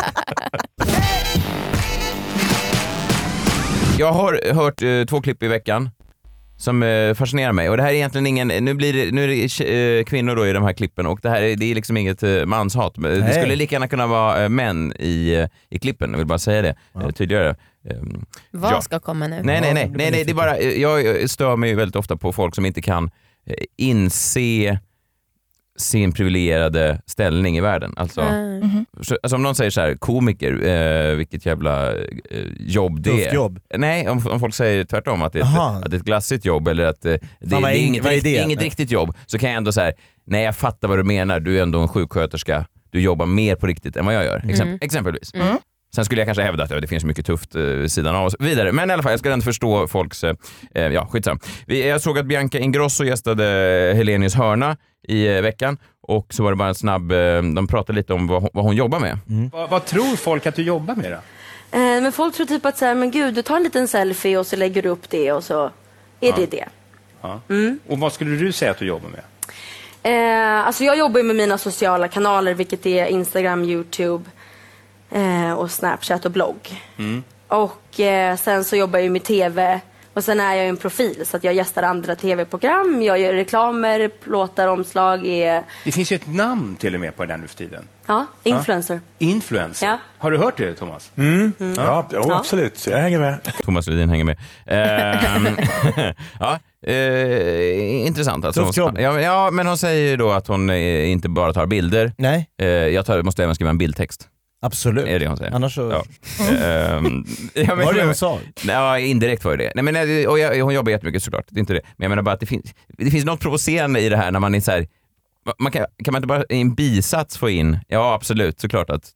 [SPEAKER 2] Jag har hört eh, två klipp i veckan som eh, fascinerar mig. Och det här är egentligen ingen, nu, blir det, nu är det tje- eh, kvinnor då i de här klippen och det här är, det är liksom inget eh, manshat. Men Det
[SPEAKER 4] Nej.
[SPEAKER 2] skulle lika gärna kunna vara eh, män i, eh, i klippen, jag vill bara säga det eh, tydligare. Ehm,
[SPEAKER 3] Vad
[SPEAKER 2] Ja.
[SPEAKER 3] ska komma nu?
[SPEAKER 2] Nej, nej, nej.
[SPEAKER 4] det blir
[SPEAKER 2] nej, nej det är bara, eh, jag eh, stör mig ju väldigt ofta på folk som inte kan eh, inse sin privilegierade ställning i världen. Alltså,
[SPEAKER 3] Mm.
[SPEAKER 2] så, alltså om någon säger så här, komiker, eh, vilket jävla eh, jobb det
[SPEAKER 4] Tufft
[SPEAKER 2] är.
[SPEAKER 4] jobb.
[SPEAKER 2] Nej, om, om folk säger tvärtom att det, är
[SPEAKER 4] Jaha.
[SPEAKER 2] ett, att det är ett glassigt jobb eller att eh, det,
[SPEAKER 4] vad
[SPEAKER 2] det är
[SPEAKER 4] är-
[SPEAKER 2] inget,
[SPEAKER 4] vad är det?
[SPEAKER 2] rikt- inget
[SPEAKER 4] Nej.
[SPEAKER 2] riktigt jobb så kan jag ändå säga nej jag fattar vad du menar, du är ändå en sjuksköterska, du jobbar mer på riktigt än vad jag gör. Exemp-
[SPEAKER 4] Mm.
[SPEAKER 2] Exempelvis. Sen skulle jag kanske hävda att ja, det finns mycket tufft eh, vid sidan av oss. Vidare. Men i alla fall, jag ska ändå förstå folks... Eh, eh, ja, skitsamma. Vi, jag såg att Bianca Ingrosso gästade Helenius hörna i eh, veckan och så var det bara en snabb... Eh, de pratade lite om vad, hon- vad hon jobbar med.
[SPEAKER 7] Vad, vad tror folk att du jobbar med då?
[SPEAKER 8] Eh, men folk tror typ att så här, men gud, du tar en liten selfie och så lägger du upp det och så är det det.
[SPEAKER 7] Ja. Och vad skulle du säga att du jobbar med?
[SPEAKER 8] Eh, alltså jag jobbar ju med mina sociala kanaler, vilket är Instagram, Youtube eh, och Snapchat och blogg. Och eh, sen så jobbar jag ju med TV och sen är jag ju en profil så att jag gästar andra TV-program, jag gör reklamer, låtar, omslag, är
[SPEAKER 7] Det finns ju ett namn till och med på det där nu för tiden.
[SPEAKER 8] ja, influencer.
[SPEAKER 7] Influencer.
[SPEAKER 8] Ja.
[SPEAKER 7] Har du hört det, Thomas?
[SPEAKER 2] Mm.
[SPEAKER 7] Mm.
[SPEAKER 9] Ja, jo, absolut. Jag hänger med.
[SPEAKER 2] Thomas Ledin hänger med. Ehm, ja, eh, intressant. Alltså,
[SPEAKER 4] Tufft jobb.
[SPEAKER 2] ja, men- ja, men hon säger ju då att hon eh, inte bara tar bilder.
[SPEAKER 4] Nej,
[SPEAKER 2] Eh, jag tar, måste även skriva en bildtext.
[SPEAKER 4] absolut.
[SPEAKER 2] Är det hon säger.
[SPEAKER 4] Annars så...
[SPEAKER 2] Ja. Ehm, ja, men-
[SPEAKER 4] Var det hon sa?
[SPEAKER 2] Ja, indirekt var det det. Nej, men, eh, och jag, hon jobbar jättemycket såklart, det är inte det. Men jag menar bara att det finns, det finns något provocerande i det här när man är så här, man kan, kan man inte bara i en bisats få in, ja absolut, såklart att...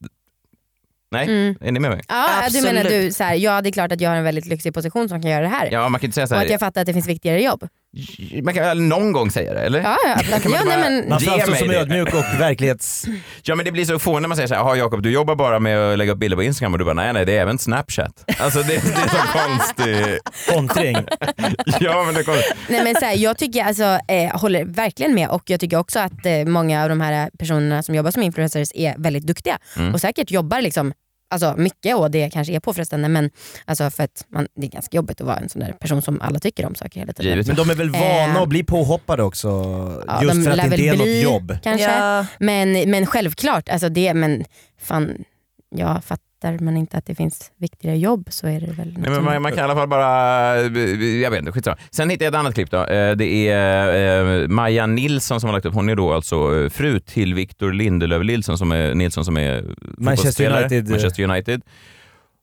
[SPEAKER 2] Nej,
[SPEAKER 3] Mm.
[SPEAKER 2] är ni med mig?
[SPEAKER 3] Ja, du menar
[SPEAKER 5] Absolut.
[SPEAKER 3] du så här, ja det är klart att jag har en väldigt lyxig position som kan göra det här.
[SPEAKER 2] Ja, man kan inte säga så
[SPEAKER 3] Och
[SPEAKER 2] här,
[SPEAKER 3] att jag fattar att det finns viktigare jobb.
[SPEAKER 2] man kan väl någon gång säga det, eller?
[SPEAKER 3] Ja, ja.
[SPEAKER 2] Kan man
[SPEAKER 3] ja
[SPEAKER 2] bara-
[SPEAKER 3] nej, men,
[SPEAKER 4] Man
[SPEAKER 2] Ge
[SPEAKER 4] framstår
[SPEAKER 2] mig
[SPEAKER 4] som
[SPEAKER 2] det.
[SPEAKER 4] ödmjuk och verklighets...
[SPEAKER 2] Ja men det blir så fånigt när man säger så här, "Jaha, Jakob du jobbar bara med att lägga upp bilder på Instagram och du bara nej nej det är även Snapchat. Alltså det, det är så konstig...
[SPEAKER 4] kontring.
[SPEAKER 2] Ja men det är konstigt.
[SPEAKER 3] nej, men så här, jag tycker alltså, eh, håller verkligen med och jag tycker också att eh, många av de här personerna som jobbar som influencers är väldigt duktiga
[SPEAKER 4] Mm.
[SPEAKER 3] och säkert jobbar liksom Alltså mycket och det kanske är påfrestande men alltså för att man, det är ganska jobbigt att vara en sån där person som alla tycker om saker hela tiden.
[SPEAKER 2] Givetvis.
[SPEAKER 4] Men de är väl vana
[SPEAKER 3] Eh.
[SPEAKER 4] att bli påhoppade också?
[SPEAKER 3] Ja,
[SPEAKER 4] just
[SPEAKER 3] de
[SPEAKER 4] för att
[SPEAKER 3] lär
[SPEAKER 4] det inte
[SPEAKER 3] väl
[SPEAKER 4] är
[SPEAKER 3] bli,
[SPEAKER 4] något jobb.
[SPEAKER 3] Kanske.
[SPEAKER 5] Ja.
[SPEAKER 3] Men, men självklart, alltså det, men fan, jag fattar man inte att det finns viktigare jobb så är det väl något
[SPEAKER 2] Nej, men man,
[SPEAKER 3] som-
[SPEAKER 2] man kan i alla fall bara, eh, jag vet inte, skitsamma. Sen hittade jag ett annat klipp då. Eh, Det är eh, Maja Nilsson som har lagt upp, hon är då alltså eh, fru till Victor Lindelöf Nilsson som är, Nilsson som är fotbollsspelare.
[SPEAKER 4] United.
[SPEAKER 2] Manchester United.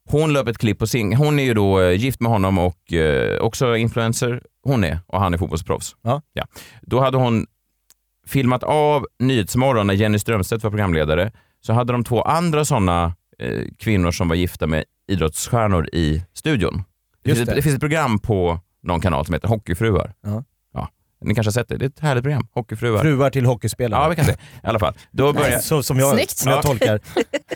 [SPEAKER 2] Hon la upp ett klipp på sin, hon är ju då eh, gift med honom och eh, också influencer, hon är, och han är fotbollsproffs.
[SPEAKER 4] Ja.
[SPEAKER 2] Ja. Då hade hon filmat av Nyhetsmorgon när Jenny Strömstedt var programledare, så hade de två andra sådana eh, kvinnor som var gifta med idrottsstjärnor i studion. Det
[SPEAKER 4] Just
[SPEAKER 2] finns, ett,
[SPEAKER 4] det.
[SPEAKER 2] det finns ett program på någon kanal som heter Hockeyfruar.
[SPEAKER 4] Ja.
[SPEAKER 2] Ja. Ni kanske har sett det? Det är ett härligt program. Hockeyfruar.
[SPEAKER 4] Fruar till hockeyspelare.
[SPEAKER 2] Ja, vi kan se. I alla fall. Då börjar...
[SPEAKER 4] Så, som jag,
[SPEAKER 2] Snyggt.
[SPEAKER 4] som jag
[SPEAKER 2] Ja.
[SPEAKER 4] tolkar.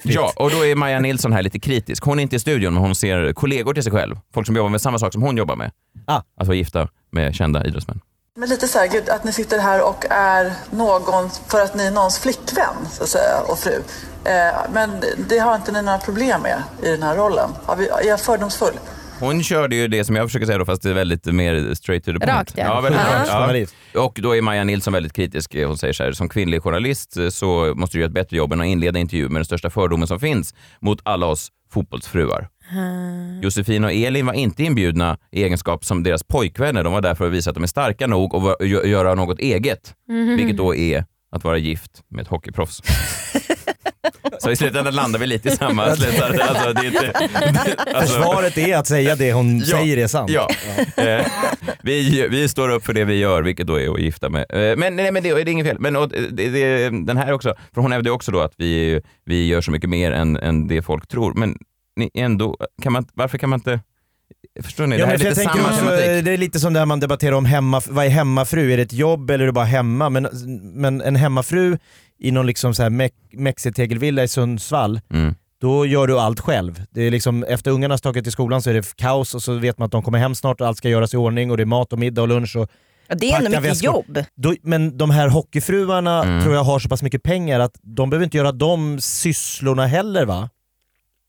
[SPEAKER 2] Ja, och då är Maja Nilsson här lite kritisk. Hon är inte i studion, men hon ser kollegor till sig själv. Folk som jobbar med samma sak som hon jobbar med.
[SPEAKER 4] Ah.
[SPEAKER 2] Att vara gifta med kända idrottsmän.
[SPEAKER 10] Men lite så här, gud, att ni sitter här och är någon för att ni är någons flickvän så att säga, och fru. Eh, men det har inte ni några problem med i den här rollen. Har vi, är jag fördomsfull?
[SPEAKER 2] Hon körde ju det som jag försöker säga då, fast det är väldigt mer straight to the point.
[SPEAKER 10] Rakt, ja.
[SPEAKER 2] väldigt
[SPEAKER 10] Ja.
[SPEAKER 2] rakt.
[SPEAKER 4] Journalist.
[SPEAKER 2] Och då är Maja Nilsson väldigt kritisk. Hon säger så här, som kvinnlig journalist eh, så måste du göra ett bättre jobb än att inleda intervjuer med den största fördomen som finns mot alla oss fotbollsfruar.
[SPEAKER 10] Ah.
[SPEAKER 2] Josefin och Elin var inte inbjudna i egenskap som deras pojkvänner. De var där för att visa att de är starka nog och va- gö- göra något eget,
[SPEAKER 11] Mhm.
[SPEAKER 2] vilket då är att vara gift med ett hockeyproffs. Så i slutändan landar vi lite i samma slutsats. Alltså, det är inte, alltså-
[SPEAKER 4] Försvaret är att säga det hon säger är sant.
[SPEAKER 2] Ja. Eh, vi, vi står upp för det vi gör, vilket då är att gifta med. Eh, men nej, men det, det är inget fel. Men och, eh, det, det, den här också, för hon hävdar ju också då att vi, vi gör så mycket mer än, än det folk tror. Men ni ändå, kan man, varför kan man inte... Förstår ni?
[SPEAKER 4] Ja,
[SPEAKER 2] det här är
[SPEAKER 4] men för
[SPEAKER 2] lite
[SPEAKER 4] jag
[SPEAKER 2] samma
[SPEAKER 4] tänker också,
[SPEAKER 2] tematik.
[SPEAKER 4] det är lite som det här man debatterar om, hemma, vad är hemmafru? Är det ett jobb eller är det bara hemma? Men, men en hemmafru i någon liksom så här mex- mexitegelvilla i Sundsvall,
[SPEAKER 2] Mm.
[SPEAKER 4] då gör du allt själv. Det är liksom, efter ungarna stakat till skolan så är det kaos och så vet man att de kommer hem snart och allt ska göras i ordning och det är mat och middag och lunch. Och
[SPEAKER 5] Ja, det är ändå
[SPEAKER 4] packa
[SPEAKER 5] mycket jobb.
[SPEAKER 4] Då, men de här hockeyfruarna
[SPEAKER 2] Mm.
[SPEAKER 4] tror jag har så pass mycket pengar att de behöver inte göra de sysslorna heller va?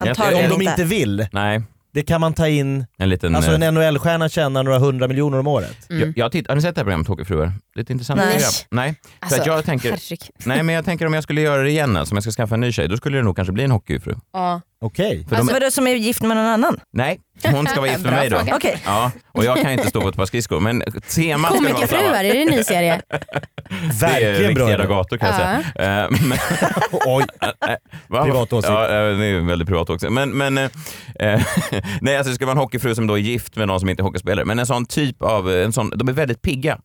[SPEAKER 2] Antagligen
[SPEAKER 4] Om de
[SPEAKER 2] inte.
[SPEAKER 4] inte vill.
[SPEAKER 2] Nej.
[SPEAKER 4] Det kan man ta in
[SPEAKER 2] En liten,
[SPEAKER 4] Alltså Mm.
[SPEAKER 2] eh,
[SPEAKER 4] en NHL-stjärna tjänar några hundra miljoner om året.
[SPEAKER 2] Jag, jag titt, har ni sett det här programmet Hockeyfruar? Det är ett intressant
[SPEAKER 4] Nej.
[SPEAKER 2] program. Nej.
[SPEAKER 4] Alltså,
[SPEAKER 2] så att jag tänker,
[SPEAKER 4] herregud.
[SPEAKER 2] nej, men jag tänker om jag skulle göra det igen, alltså, om jag ska skaffa en ny tjej, då skulle det nog kanske bli en hockeyfru.
[SPEAKER 5] Ja.
[SPEAKER 4] Okej.
[SPEAKER 2] För de-
[SPEAKER 5] Alltså vadå som är gift med någon annan?
[SPEAKER 2] Nej, hon ska vara gift med
[SPEAKER 5] Bra
[SPEAKER 2] mig då.
[SPEAKER 5] fråga. Okej.
[SPEAKER 2] Ja, och jag kan ju inte stå på ett par skridskor, men temat skulle vara samma.
[SPEAKER 3] Komikerfruar, är det en ny serie?
[SPEAKER 2] det är
[SPEAKER 4] Verkligen bra
[SPEAKER 2] riktiga
[SPEAKER 4] idé.
[SPEAKER 2] gator kan jag
[SPEAKER 3] Ja.
[SPEAKER 2] säga. Eh, men-
[SPEAKER 4] Oj. Privat åsikt.
[SPEAKER 2] Ja, eh, det är en väldigt privat åsikt. Men, men, eh, eh, nej, alltså det ska vara en hockeyfru som då är gift med någon som inte är hockeyspelare. Men en sån typ av, eh, en sån, de är väldigt pigga.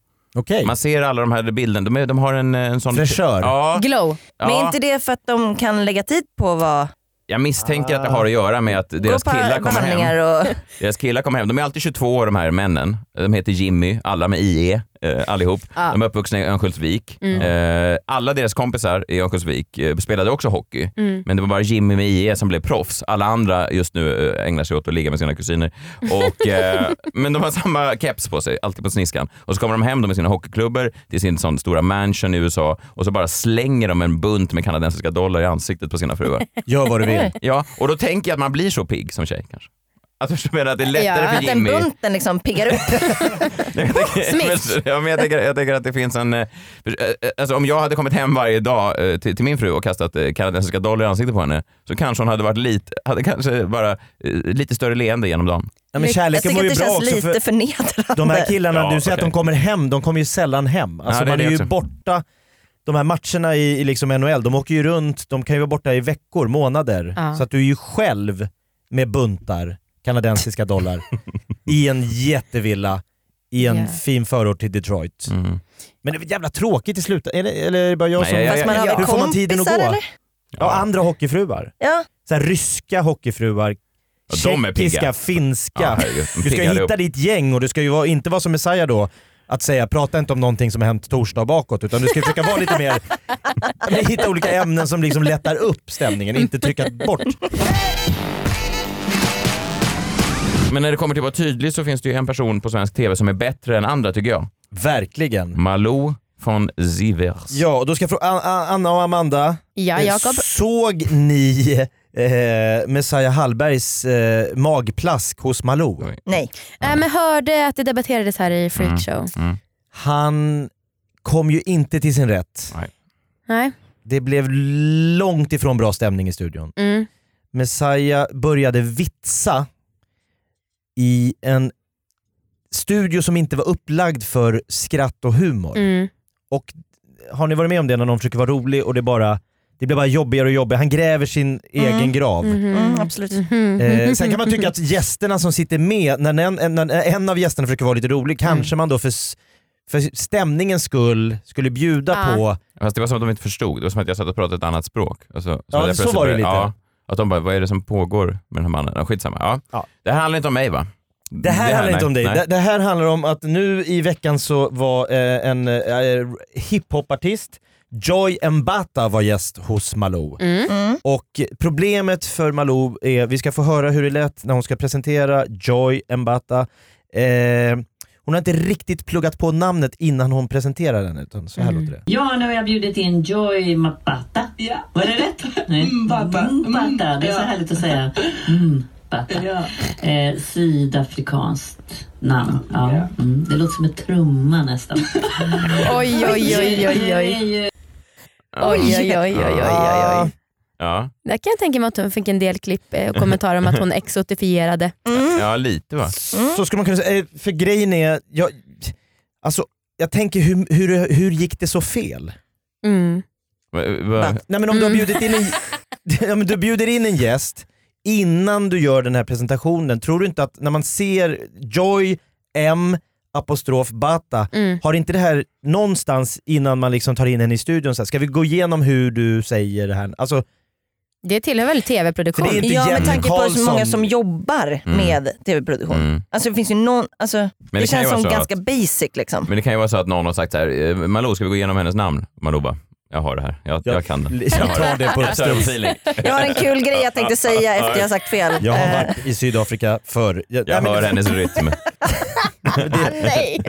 [SPEAKER 2] Man ser alla de här bilderna, de, är, de har en, eh, en sån...
[SPEAKER 4] Fräschör.
[SPEAKER 2] Ja.
[SPEAKER 5] Glow. Men
[SPEAKER 2] Ja.
[SPEAKER 5] är inte det för att de kan lägga tid på att vara
[SPEAKER 2] Jag misstänker att det har att göra med att deras
[SPEAKER 5] på
[SPEAKER 2] killar kommer
[SPEAKER 5] behandlingar
[SPEAKER 2] hem.
[SPEAKER 5] och...
[SPEAKER 2] Deras killar kommer hem. De är alltid 22 år de här männen. De heter Jimmy, alla med IE, eh, allihop.
[SPEAKER 5] Ja.
[SPEAKER 2] De är uppvuxna i Örnsköldsvik. Eh, alla deras kompisar i Örnsköldsvik eh, spelade också hockey.
[SPEAKER 11] Mm.
[SPEAKER 2] Men det var bara Jimmy med IE som blev proffs. Alla andra just nu eh, ägnar sig åt att ligga med sina kusiner. Och, eh, men de har samma keps på sig, alltid på sniskan. Och så kommer de hem de med sina hockeyklubbor till sin sån stora mansion i USA och så bara slänger de en bunt med kanadensiska dollar i ansiktet på sina fruar.
[SPEAKER 4] Gör vad du vill.
[SPEAKER 2] Ja, och då tänker jag att man blir så pigg som tjej kanske. Att du menar att det är lättare
[SPEAKER 5] ja,
[SPEAKER 2] för
[SPEAKER 5] att den
[SPEAKER 2] Jimmy.
[SPEAKER 5] bunten liksom piggar upp?
[SPEAKER 2] Jag tänker-
[SPEAKER 5] Smitt.
[SPEAKER 2] ja, men jag, tänker, jag tänker att det finns en... eh, Alltså, om jag hade kommit hem varje dag eh, till, till min fru och kastat eh, kanadensiska dollar i ansiktet på henne så kanske hon hade varit lite, hade kanske bara eh, lite större leende genom dagen.
[SPEAKER 4] Ja, men
[SPEAKER 5] jag
[SPEAKER 4] kärleken
[SPEAKER 5] tycker
[SPEAKER 4] mår
[SPEAKER 5] att det
[SPEAKER 4] ju bra
[SPEAKER 5] känns
[SPEAKER 4] också.
[SPEAKER 5] lite
[SPEAKER 4] För
[SPEAKER 5] förnedrande.
[SPEAKER 4] de här killarna,
[SPEAKER 2] Ja,
[SPEAKER 4] du säger
[SPEAKER 2] okej.
[SPEAKER 4] att de kommer hem, de kommer ju sällan hem. Alltså
[SPEAKER 2] Ja, det är
[SPEAKER 4] man är,
[SPEAKER 2] det
[SPEAKER 4] ju
[SPEAKER 2] också.
[SPEAKER 4] borta, de här matcherna i, i liksom NHL, de åker ju runt, de kan ju vara borta i veckor, månader.
[SPEAKER 2] Ja.
[SPEAKER 4] Så att du är ju själv med buntar kanadensiska dollar i en jättevilla i en
[SPEAKER 5] Ja.
[SPEAKER 4] fin förort till Detroit. Men det är väl jävla tråkigt i slutet, eller, eller är det bara jag
[SPEAKER 2] Mm. Nej,
[SPEAKER 4] som...
[SPEAKER 2] jag- jag- Fast man har väl
[SPEAKER 4] Hur får man tiden att gå?
[SPEAKER 5] kompisar, eller?
[SPEAKER 4] Ja, andra hockeyfruar.
[SPEAKER 5] Ja.
[SPEAKER 4] Så här, ryska hockeyfruar,
[SPEAKER 2] Ja, de är pigga.
[SPEAKER 4] tjeckiska,
[SPEAKER 2] Ja,
[SPEAKER 4] finska.
[SPEAKER 2] herregud. De
[SPEAKER 4] du ska
[SPEAKER 2] piggar
[SPEAKER 4] hitta
[SPEAKER 2] upp.
[SPEAKER 4] ditt gäng och du ska ju vara, inte vara som Messiah då, att säga prata inte om någonting som har hänt torsdag och bakåt utan du ska försöka vara lite mer, men hitta olika ämnen som liksom lättar upp stämningen, inte trycka bort.
[SPEAKER 2] Men när det kommer till att vara tydlig så finns det ju en person på svensk TV som är bättre än andra tycker jag. Mm.
[SPEAKER 4] Verkligen.
[SPEAKER 2] Malou von Sivers.
[SPEAKER 4] Ja, och då ska jag fråga An- An- Anna och Amanda.
[SPEAKER 3] Ja,
[SPEAKER 4] Eh,
[SPEAKER 3] Jakob.
[SPEAKER 4] Såg ni eh, Messiah Hallbergs eh, magplask hos Malou?
[SPEAKER 2] Mm.
[SPEAKER 5] Nej.
[SPEAKER 3] Äh, men hörde att det debatterades här i Freakshow.
[SPEAKER 4] Han kom ju inte till sin rätt.
[SPEAKER 3] Nej.
[SPEAKER 4] Det blev långt ifrån bra stämning i studion.
[SPEAKER 3] Mm.
[SPEAKER 4] Messiah började vitsa i en studio som inte var upplagd för skratt och humor.
[SPEAKER 3] Mm.
[SPEAKER 4] Och har ni varit med om det när någon försöker vara rolig och det bara det blir bara jobbigare och jobbigare. Han gräver sin egen grav.
[SPEAKER 5] Mm, absolut.
[SPEAKER 4] Eh, sen kan man tycka att gästerna som sitter med, när en, en, när en av gästerna försöker vara lite rolig, kanske man då för, s- för stämningens skull skulle bjuda på
[SPEAKER 2] Fast det var som att de inte förstod. Det var som att jag satt och pratade ett annat språk. Alltså, som
[SPEAKER 4] Ja,
[SPEAKER 2] att jag
[SPEAKER 4] så
[SPEAKER 2] plötsligt
[SPEAKER 4] var det
[SPEAKER 2] började- Ja,
[SPEAKER 4] lite.
[SPEAKER 2] att de bara, vad är det som pågår med den här mannen? Ja, skitsamma. Ja. Det här handlar inte om mig va?
[SPEAKER 4] Det här handlar inte om dig. Det, det här handlar om att nu i veckan så var eh, en eh, hiphopartist, Joy Mbata var gäst hos Malou.
[SPEAKER 11] Mm. Mm.
[SPEAKER 4] Och problemet för Malou är, vi ska få höra hur det lät när hon ska presentera Joy Mbata. Eh, hon har inte riktigt pluggat på namnet innan hon presenterar den, utan så här
[SPEAKER 11] Mm.
[SPEAKER 4] låter det.
[SPEAKER 12] Ja, nu har jag bjudit in Joy Mapata. Ja. Mm, Var det rätt? Nej. Mbata. Mbata, det är så härligt att säga. Mbata. Eh, sydafrikanskt namn. Ja. Mm. Det låter som en trumma nästan.
[SPEAKER 3] Oj, oj, oj, oj, oj. Oj, oj, oj, oj, oj, oj. oj.
[SPEAKER 2] Ja.
[SPEAKER 3] Där kan jag tänka mig att hon fick en del klipp eh, och kommentarer om att hon exotifierade.
[SPEAKER 2] ja, lite va?
[SPEAKER 11] Mm.
[SPEAKER 4] Så skulle man kunna säga, eh, för grejen är, jag, alltså, jag tänker hur, hur, hur gick det så fel?
[SPEAKER 3] Mm.
[SPEAKER 2] mm.
[SPEAKER 4] Nej men om du har bjudit in en, ja, men du bjuder in en gäst innan du gör den här presentationen, tror du inte att när man ser Joy M apostrof Bata,
[SPEAKER 11] Mm.
[SPEAKER 4] har inte det här någonstans innan man liksom tar in henne i studion, så här, ska vi gå igenom hur du säger det här? Alltså,
[SPEAKER 3] Det tillhör väl tv-produktion?
[SPEAKER 4] För det är inte
[SPEAKER 5] ja, med tanke på så många som
[SPEAKER 4] Karlsson. Mm.
[SPEAKER 5] jobbar
[SPEAKER 2] Mm.
[SPEAKER 5] med tv-produktion. Alltså det finns ju någon, alltså, det,
[SPEAKER 2] det kan ju
[SPEAKER 5] känns
[SPEAKER 2] vara
[SPEAKER 5] som
[SPEAKER 2] så
[SPEAKER 5] ganska
[SPEAKER 2] att-
[SPEAKER 5] basic liksom.
[SPEAKER 2] Men det kan ju vara så att någon har sagt så här, eh, Malou ska vi gå igenom hennes namn? Malou bara, jag har det här, jag, jag, kan det.
[SPEAKER 4] jag
[SPEAKER 2] har
[SPEAKER 4] tar det på
[SPEAKER 2] Jag tar
[SPEAKER 4] uppstuds.
[SPEAKER 2] feeling.
[SPEAKER 5] Jag har en kul grej jag tänkte säga efter jag har sagt fel.
[SPEAKER 4] Jag har
[SPEAKER 5] Eh,
[SPEAKER 4] varit i Sydafrika förr. Jag,
[SPEAKER 2] Jag hör hennes rytm.
[SPEAKER 5] nej.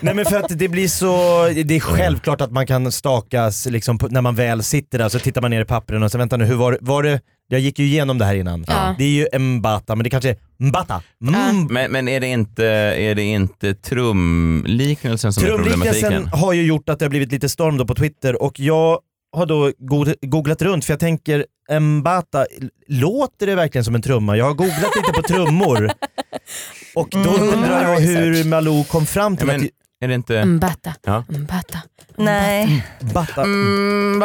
[SPEAKER 4] Nej men för att det blir så, det är självklart att man kan stakas liksom på, när man väl sitter där så tittar man ner i pappren och så vänta nu hur var, det- var det, jag gick ju igenom det här innan.
[SPEAKER 2] Ja.
[SPEAKER 4] Det är ju Mbata men det kanske är Mbata. Mm.
[SPEAKER 2] Men, men är, det inte, är det inte trumliknelsen som är problematiken?
[SPEAKER 4] Trumliknelsen har ju gjort att det har blivit lite storm då på Twitter och jag har då go- googlat runt för jag tänker Mbata, låter det verkligen som en trumma? Jag har googlat lite på trummor och då undrar jag hur Malou kom fram till att...
[SPEAKER 2] Är det inte...
[SPEAKER 3] Mbata.
[SPEAKER 2] Ja.
[SPEAKER 3] Mbata.
[SPEAKER 4] Mm.
[SPEAKER 5] Nej.
[SPEAKER 4] Bata. Mm,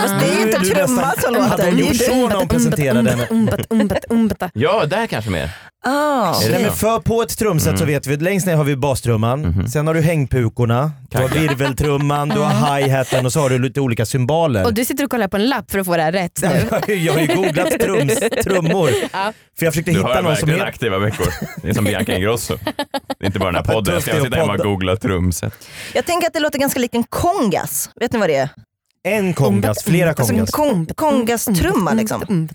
[SPEAKER 5] Fast det är ju inte en
[SPEAKER 4] Du
[SPEAKER 5] trumma
[SPEAKER 4] nästan-
[SPEAKER 5] som
[SPEAKER 4] hade
[SPEAKER 5] låter.
[SPEAKER 4] hon gjort så när hon presenterade henne?
[SPEAKER 2] Ja, där kanske mer.
[SPEAKER 5] Ah.
[SPEAKER 4] Nej, men för på ett trumset
[SPEAKER 2] Mm.
[SPEAKER 4] så vet vi, längst ner har vi bastrumman,
[SPEAKER 2] Mhm.
[SPEAKER 4] sen har du hängpukorna, du har virveltrumman, du har hi-haten och så har du lite olika symboler.
[SPEAKER 3] Och du sitter och kollar på en lapp för att få det här rätt nu.
[SPEAKER 4] Jag har ju googlat trums, trummor.
[SPEAKER 3] Ja.
[SPEAKER 4] För jag försökte
[SPEAKER 2] Du
[SPEAKER 4] hitta
[SPEAKER 2] har
[SPEAKER 4] någon som
[SPEAKER 2] verkligen
[SPEAKER 4] heter...
[SPEAKER 2] aktiva veckor. Det är som Bianca Ingrosso. Det är inte bara den här podden. Jag ska
[SPEAKER 4] Tufft är att
[SPEAKER 2] sitta hemma och
[SPEAKER 4] podda.
[SPEAKER 2] googla trumset.
[SPEAKER 5] Jag tänker att det låter ganska likt en kongas. Vet ni vad det är?
[SPEAKER 4] En kongas, flera
[SPEAKER 5] Alltså en
[SPEAKER 4] kongas.
[SPEAKER 5] kong, kongastrumma liksom.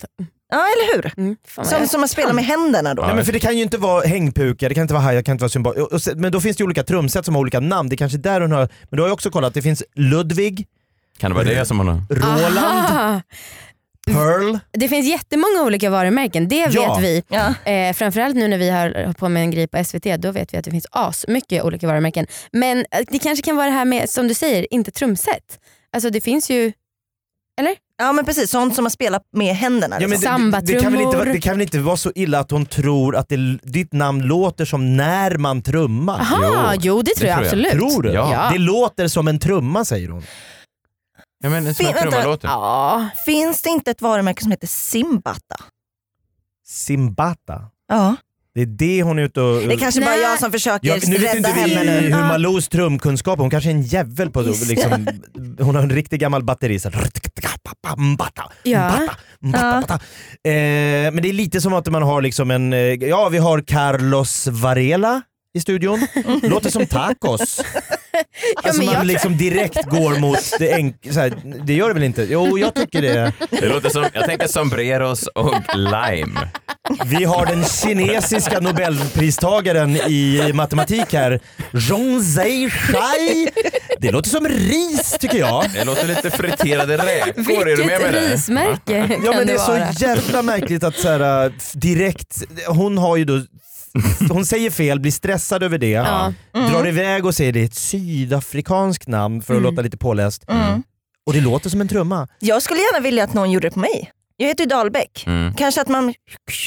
[SPEAKER 5] Ja, eller hur?
[SPEAKER 3] Mm, fan vad
[SPEAKER 5] som,
[SPEAKER 3] jag
[SPEAKER 5] som man spelar
[SPEAKER 3] kan.
[SPEAKER 5] med händerna då.
[SPEAKER 4] Nej, men för det kan ju inte vara hängpuka, det kan inte vara hi-hat, det kan inte vara symbol. Och- och se- Men då finns det ju olika trumset som har olika namn, det är kanske där hon har... Men du har ju också kollat, det finns Ludvig,
[SPEAKER 2] Kan det vara det som hon har...
[SPEAKER 4] Roland,
[SPEAKER 3] Aha.
[SPEAKER 4] Pearl.
[SPEAKER 3] Det finns jättemånga olika varumärken, det
[SPEAKER 4] Ja.
[SPEAKER 3] vet vi.
[SPEAKER 5] Ja.
[SPEAKER 3] Eh, framförallt nu när vi har hållit på med en grej på SVT, då vet vi att det finns as mycket olika varumärken. Men eh, det kanske kan vara det här med, som du säger, inte trumset. Alltså det finns ju, eller?
[SPEAKER 5] Ja men precis, sånt som man spelar med händerna.
[SPEAKER 4] Ja, men
[SPEAKER 5] liksom.
[SPEAKER 4] det, det, det, kan väl inte, vara- det kan väl inte vara så illa att hon tror att det, ditt namn låter som när man trummar?
[SPEAKER 3] Aha, jo, det tror jag absolut.
[SPEAKER 4] Ah, Tror du?
[SPEAKER 3] Ja.
[SPEAKER 4] Det låter som en trumma säger hon.
[SPEAKER 2] Ja, men en
[SPEAKER 5] Fin- vänta.
[SPEAKER 3] Ja.
[SPEAKER 5] Finns det inte ett varumärke som heter Simbata?
[SPEAKER 4] Simbata.
[SPEAKER 5] Ja.
[SPEAKER 4] Det är det hon är ute och...
[SPEAKER 5] Det är kanske bara jag som försöker
[SPEAKER 4] Jag, Mm. nu vet
[SPEAKER 5] rädda
[SPEAKER 4] inte vi Mm.
[SPEAKER 5] henne nu.
[SPEAKER 4] hur
[SPEAKER 5] Ja.
[SPEAKER 4] Malous trumkunskap, hon kanske är en jävel på
[SPEAKER 5] Just det.
[SPEAKER 4] liksom, Hon har en riktig gammal batteri. Så här, Mbata,
[SPEAKER 3] Ja.
[SPEAKER 4] mbata, mbata. Eh, men det är lite som att man har liksom en, eh, ja vi har Carlos Varela i studion. Låter som tacos. Alltså
[SPEAKER 3] men jag
[SPEAKER 4] man
[SPEAKER 3] tror-
[SPEAKER 4] liksom direkt går mot det enkla, så här, det gör det väl inte? Jo jag tycker det.
[SPEAKER 2] Det låter som, jag tänker sombreros och lime.
[SPEAKER 4] Vi har den kinesiska nobelpristagaren i matematik här, Zhong Zai-Shai. Det låter som ris tycker jag.
[SPEAKER 2] Det låter lite friterade räkor, är du med mig
[SPEAKER 3] Vilket
[SPEAKER 2] där?
[SPEAKER 3] rismärke kan
[SPEAKER 4] Ja men det är
[SPEAKER 3] vara?
[SPEAKER 4] så jävla märkligt att så här, äh, direkt, hon har ju då hon säger fel, blir stressad över det,
[SPEAKER 3] Ja. Mm.
[SPEAKER 4] drar iväg och säger det är ett sydafrikanskt namn för att
[SPEAKER 5] Mm.
[SPEAKER 4] låta lite påläst.
[SPEAKER 5] Mm.
[SPEAKER 4] Och det låter som en trumma.
[SPEAKER 5] Jag skulle gärna vilja att någon gjorde det på mig. Jag heter ju Dahlbäck.
[SPEAKER 4] Mm.
[SPEAKER 5] Kanske att man,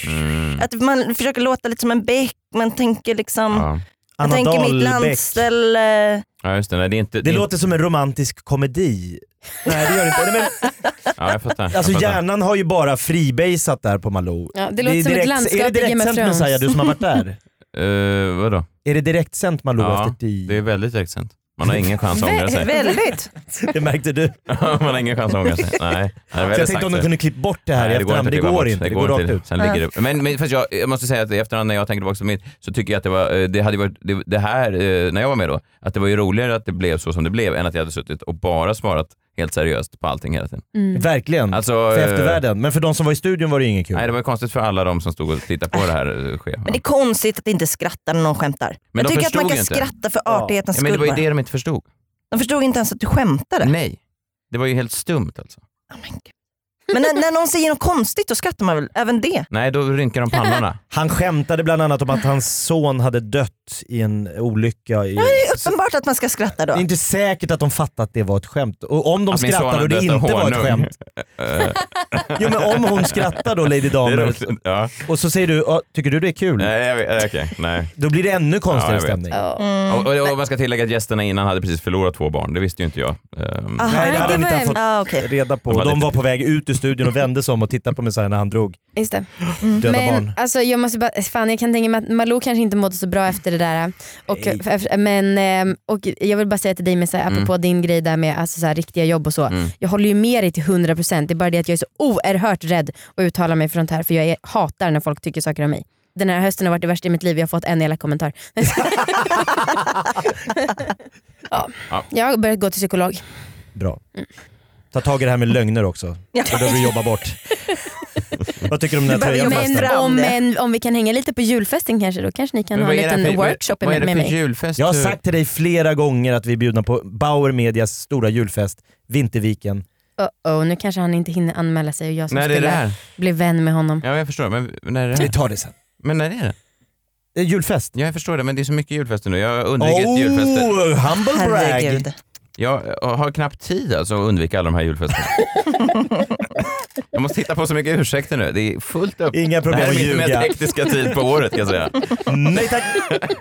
[SPEAKER 2] Mm.
[SPEAKER 5] att man försöker låta lite som en bäck, man tänker liksom,
[SPEAKER 2] Ja.
[SPEAKER 5] jag
[SPEAKER 4] Anna
[SPEAKER 5] tänker mitt
[SPEAKER 4] Dahlbäck.
[SPEAKER 5] landställe.
[SPEAKER 2] Ja, just det. Nej, det är inte...
[SPEAKER 4] Det låter som en romantisk komedi. Nej det gör det inte. Nej,
[SPEAKER 2] Ja, jag fattar.
[SPEAKER 4] men, alltså
[SPEAKER 2] jag fattar.
[SPEAKER 4] hjärnan har ju bara freebasat där på Malou.
[SPEAKER 3] Ja, det låter
[SPEAKER 4] är
[SPEAKER 3] som ett
[SPEAKER 4] direkt-
[SPEAKER 3] landskap
[SPEAKER 4] Är
[SPEAKER 3] i
[SPEAKER 4] det
[SPEAKER 3] Game of
[SPEAKER 4] direktsänt
[SPEAKER 3] Thrones.
[SPEAKER 4] Messiah, du som har varit där?
[SPEAKER 2] Eh, vadå?
[SPEAKER 4] Är det direktsänt Malou
[SPEAKER 2] Ja,
[SPEAKER 4] efter tio?
[SPEAKER 2] det är väldigt direktsänt. Man har ingen chans att ångra sig.
[SPEAKER 5] Väldigt.
[SPEAKER 4] Det märkte du.
[SPEAKER 2] Man har ingen chans att ångra sig. Nej.
[SPEAKER 4] Så jag tänkte om de kunde klippt bort det här i efterhand, men det går inte. Det går rakt ut. Äh.
[SPEAKER 2] Sen ligger det. Men, men fast jag, jag måste säga att i efterhand när jag tänker tillbaka på mitt så tycker jag att det var, eh, det hade varit, det, det här, eh, när jag var med då, att det var ju roligare att det blev så som det blev än att jag hade suttit och bara svarat helt seriöst på allting hela tiden.
[SPEAKER 3] Mm.
[SPEAKER 4] Verkligen.
[SPEAKER 2] Alltså,
[SPEAKER 4] Mm. för
[SPEAKER 2] eh,
[SPEAKER 4] eftervärlden. Men för de som var i studion var det inget kul.
[SPEAKER 2] Nej, det var ju konstigt för alla de som stod och tittade
[SPEAKER 4] Äh.
[SPEAKER 2] på det här eh, ske.
[SPEAKER 5] Men det är konstigt att inte skratta när någon skämtar. jag
[SPEAKER 2] Men de
[SPEAKER 5] tycker att man
[SPEAKER 2] förstod
[SPEAKER 5] kan
[SPEAKER 2] ju inte.
[SPEAKER 5] skratta för artighetens
[SPEAKER 2] ja, Men det
[SPEAKER 5] skull.
[SPEAKER 2] var ju det
[SPEAKER 5] bara.
[SPEAKER 2] de inte förstod.
[SPEAKER 5] De förstod inte ens att du skämtade.
[SPEAKER 2] Nej. Det var ju helt stumt alltså.
[SPEAKER 5] Men när, när någon säger något konstigt, då skrattar man väl även det?
[SPEAKER 2] Nej, då rynkar de pannorna.
[SPEAKER 4] Han skämtade bland annat om att hans son hade dött i en olycka. I...
[SPEAKER 5] Ja, det är uppenbart att man ska skratta då.
[SPEAKER 4] Det är inte säkert att de fattat att det var ett skämt. Och om de
[SPEAKER 2] Att min son
[SPEAKER 4] skrattar och det
[SPEAKER 2] hade dött
[SPEAKER 4] inte
[SPEAKER 2] av
[SPEAKER 4] var ett
[SPEAKER 2] honung. Eh.
[SPEAKER 4] skämt. Jo men om hon skrattar då Lady
[SPEAKER 2] Det är
[SPEAKER 4] Damer
[SPEAKER 2] roligt, Eh, ja.
[SPEAKER 4] och så säger du, "Ja, tycker du det är kul?
[SPEAKER 2] Nej, jag vet, okej, nej.
[SPEAKER 4] Då blir det ännu
[SPEAKER 2] Ja,
[SPEAKER 4] konstigare
[SPEAKER 2] jag vet.
[SPEAKER 4] stämning. Mm.
[SPEAKER 2] Och, och, och man ska tillägga att gästerna innan hade precis förlorat två barn, det visste ju inte jag. Ehm,
[SPEAKER 4] Nej det hade han inte han fått
[SPEAKER 5] Ah, okej.
[SPEAKER 4] reda på.
[SPEAKER 2] De var
[SPEAKER 4] De
[SPEAKER 2] lite-
[SPEAKER 4] var på väg ut ur studion och vände sig om och tittade på mig så här när han drog.
[SPEAKER 3] Just det.
[SPEAKER 5] Mm.
[SPEAKER 4] Döda
[SPEAKER 3] men
[SPEAKER 4] barn.
[SPEAKER 3] alltså jag måste bara, fan jag kan tänka mig att Malou kanske inte mådde så bra efter det där. Och, f- men, ehm, och jag vill bara säga till dig med så
[SPEAKER 2] Mm.
[SPEAKER 3] här, apropå din grej där med alltså, så här, riktiga jobb och så. Jag håller ju med dig till 100% det är bara det att jag är så oerhört rädd att uttala mig för sånt här för jag är, hatar när folk tycker saker om mig. Den här hösten har varit det värsta i mitt liv, jag har fått en elak kommentar. ja.
[SPEAKER 2] Ja.
[SPEAKER 3] Jag har börjat gå till psykolog.
[SPEAKER 4] Bra. Ta tag i det här med lögner också.
[SPEAKER 5] Ja.
[SPEAKER 4] Det behöver du jobba bort. Vad tycker du om den här
[SPEAKER 5] Du behöver
[SPEAKER 4] tröjan
[SPEAKER 5] jobba
[SPEAKER 4] förresten?
[SPEAKER 5] fram
[SPEAKER 3] Om,
[SPEAKER 5] det.
[SPEAKER 3] en, om vi kan hänga lite på julfesten kanske då kanske ni kan
[SPEAKER 2] men
[SPEAKER 3] ha
[SPEAKER 2] vad
[SPEAKER 3] en
[SPEAKER 2] är det
[SPEAKER 3] liten
[SPEAKER 2] för- vad-
[SPEAKER 3] workshop
[SPEAKER 2] Vad är
[SPEAKER 3] med,
[SPEAKER 2] det
[SPEAKER 3] med
[SPEAKER 2] för
[SPEAKER 3] mig.
[SPEAKER 2] julfest?
[SPEAKER 4] Jag har
[SPEAKER 2] du-
[SPEAKER 4] sagt till dig flera gånger att vi är bjudna på Bauer Medias stora julfest, Vinterviken.
[SPEAKER 3] Oh, oh, nu kanske han inte hinner anmäla sig och jag som
[SPEAKER 2] När är det
[SPEAKER 3] skulle
[SPEAKER 2] här?
[SPEAKER 3] bli vän med honom.
[SPEAKER 2] Ja, jag förstår. Men när är det
[SPEAKER 4] Vi
[SPEAKER 3] Typ.
[SPEAKER 2] här?
[SPEAKER 4] tar det sen.
[SPEAKER 2] Men när är det?
[SPEAKER 4] Eh, Julfest.
[SPEAKER 2] Ja, jag förstår det, men det är så mycket julfester nu. Jag undviker
[SPEAKER 4] Oh,
[SPEAKER 2] julfester.
[SPEAKER 4] humble brag!
[SPEAKER 5] Herregud.
[SPEAKER 2] Jag eh, har knappt tid alltså att undvika alla de här julfesterna. jag måste hitta på så mycket ursäkter nu. Det är fullt upp.
[SPEAKER 4] Inga
[SPEAKER 2] det
[SPEAKER 4] problem
[SPEAKER 2] här är
[SPEAKER 4] att
[SPEAKER 2] min mest
[SPEAKER 4] ljuga.
[SPEAKER 2] hektiska tid på året kan jag säga.
[SPEAKER 4] Nej tack!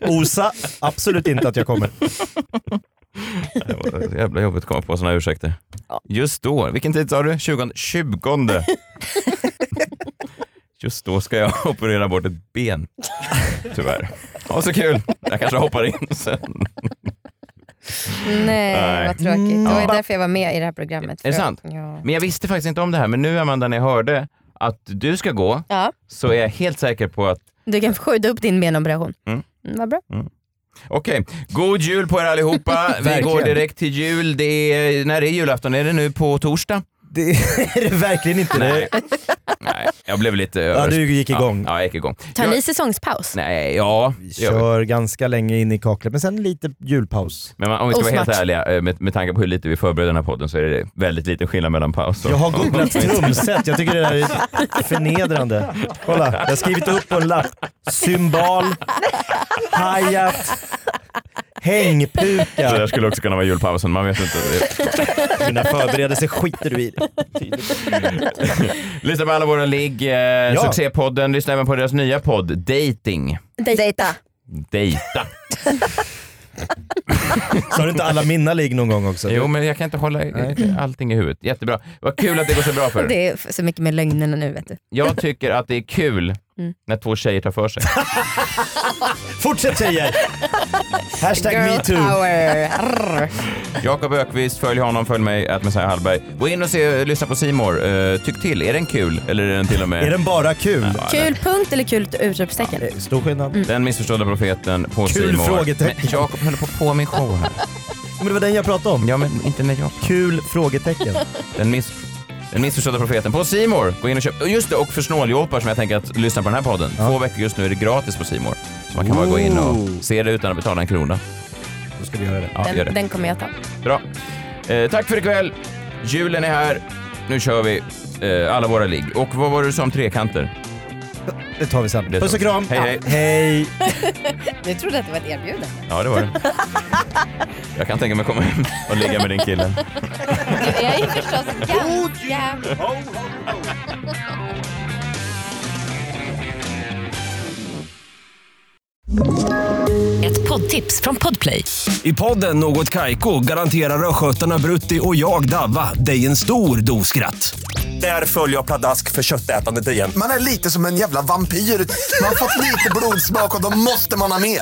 [SPEAKER 4] Osa, absolut inte att jag kommer.
[SPEAKER 2] Det var så jävla jobbigt att komma på såna här ursäkter. Just då, vilken tid sa du? 20? 20. Just då ska jag operera bort ett ben. Tyvärr. Ha så kul. Jag kanske hoppar in sen.
[SPEAKER 3] Nej,
[SPEAKER 2] Mm. Nej.
[SPEAKER 3] vad tråkigt. Det var ju
[SPEAKER 2] Ja.
[SPEAKER 3] därför jag var med i det här programmet.
[SPEAKER 2] Är det
[SPEAKER 3] För-
[SPEAKER 2] sant?
[SPEAKER 3] Ja.
[SPEAKER 2] Men jag visste faktiskt inte om det här, men nu Amanda när jag hörde att du ska gå
[SPEAKER 3] ja,
[SPEAKER 2] så är jag helt säker på att
[SPEAKER 3] du kan skjuta upp din benoperation.
[SPEAKER 2] Mm.
[SPEAKER 3] vad bra.
[SPEAKER 2] Okej, god jul på er allihopa. Vi går
[SPEAKER 4] Verkligen.
[SPEAKER 2] direkt till jul. Det är, när är julafton? Är det nu på torsdag?
[SPEAKER 4] Det är det verkligen inte. Det.
[SPEAKER 2] Nej, jag blev lite...
[SPEAKER 4] Ja, du gick igång.
[SPEAKER 2] Ja, ja jag gick igång.
[SPEAKER 3] Tar
[SPEAKER 2] jag,
[SPEAKER 3] ni säsongspaus?
[SPEAKER 2] Nej, ja.
[SPEAKER 4] Vi
[SPEAKER 2] det gör vi.
[SPEAKER 4] kör ganska länge in i kaklet, men sen lite julpaus.
[SPEAKER 2] Men man- om vi ska vara helt
[SPEAKER 3] Osmart.
[SPEAKER 2] ärliga, eh, med, med tanke på hur lite vi förbereder den här podden så är det väldigt liten skillnad mellan paus och...
[SPEAKER 4] Jag har googlat trumset, jag tycker det där är förnedrande. Kolla, jag har skrivit upp på en lapp. Cymbal, hi-hat,
[SPEAKER 2] Det där
[SPEAKER 4] hängpuka.
[SPEAKER 2] skulle också kunna vara julpausen, man vet inte.
[SPEAKER 4] Mina förberedelser skiter du i.
[SPEAKER 2] Lyssna på alla våra ligg, eh, succépodden, lyssna även på deras nya podd, Dating.
[SPEAKER 5] Dejta.
[SPEAKER 2] Dejta.
[SPEAKER 4] Sa du inte alla mina ligg någon gång också?
[SPEAKER 2] Jo, men jag kan inte hålla allting i huvudet. Jättebra. Vad kul att det går så bra för er.
[SPEAKER 3] Det är f- så mycket med lögnerna nu vet du.
[SPEAKER 2] Jag tycker att det är kul när två tjejer tar för sig.
[SPEAKER 4] Fortsätt tjejer! Hashtag
[SPEAKER 3] Girl
[SPEAKER 4] metoo.
[SPEAKER 3] power. Arr.
[SPEAKER 2] Jakob Ökvist, följ honom, följ mig, att Messiah Hallberg. Gå in och se, lyssna på C More. Eh, Tyck till, är den kul? Eller är den till och med...
[SPEAKER 4] Är den bara kul?
[SPEAKER 2] Ja, den-
[SPEAKER 3] Kul punkt eller kul utropstecken?
[SPEAKER 4] Eh, Stor skillnad.
[SPEAKER 3] Mm.
[SPEAKER 2] Den missförstådda profeten på
[SPEAKER 4] Kul
[SPEAKER 2] C More.
[SPEAKER 4] frågetecken.
[SPEAKER 2] Men Jakob höll på på min show här.
[SPEAKER 4] Men det var den jag pratade om.
[SPEAKER 2] Ja, men inte när jag...
[SPEAKER 4] Kul frågetecken.
[SPEAKER 2] Den, miss... den missförstådda profeten på C More. Gå in och köp... Och Just det, och för snåljåpar som jag tänker att lyssna på den här podden. Två veckor just nu är det gratis på C More. Så man kan bara gå in
[SPEAKER 4] Ooh.
[SPEAKER 2] och se det utan att betala en krona.
[SPEAKER 4] Då ska vi göra det.
[SPEAKER 2] Ja, gör det.
[SPEAKER 3] Den, den kommer jag ta.
[SPEAKER 2] Bra. Eh, tack för ikväll. Julen är här. Nu kör vi eh, alla våra ligg. Och vad var det du sa om trekanter?
[SPEAKER 4] Det tar vi sen.
[SPEAKER 2] Det tar
[SPEAKER 4] Puss och
[SPEAKER 2] vi.
[SPEAKER 4] kram.
[SPEAKER 2] Hej, hej.
[SPEAKER 4] hej.
[SPEAKER 3] Jag trodde att det var ett erbjudande.
[SPEAKER 2] Ja, det var det. Jag kan tänka mig att komma hem och ligga med din kille.
[SPEAKER 3] Jag är förstås ganska...
[SPEAKER 1] Ett poddtips från Podplay.
[SPEAKER 9] I podden Något Kaiko garanterar östgötarna Brutti och jag, Davva, dig en stor dos skratt. Där följer jag pladask för köttätandet igen.
[SPEAKER 13] Man är lite som en jävla vampyr. Man har fått lite blodsmak och då måste man ha mer.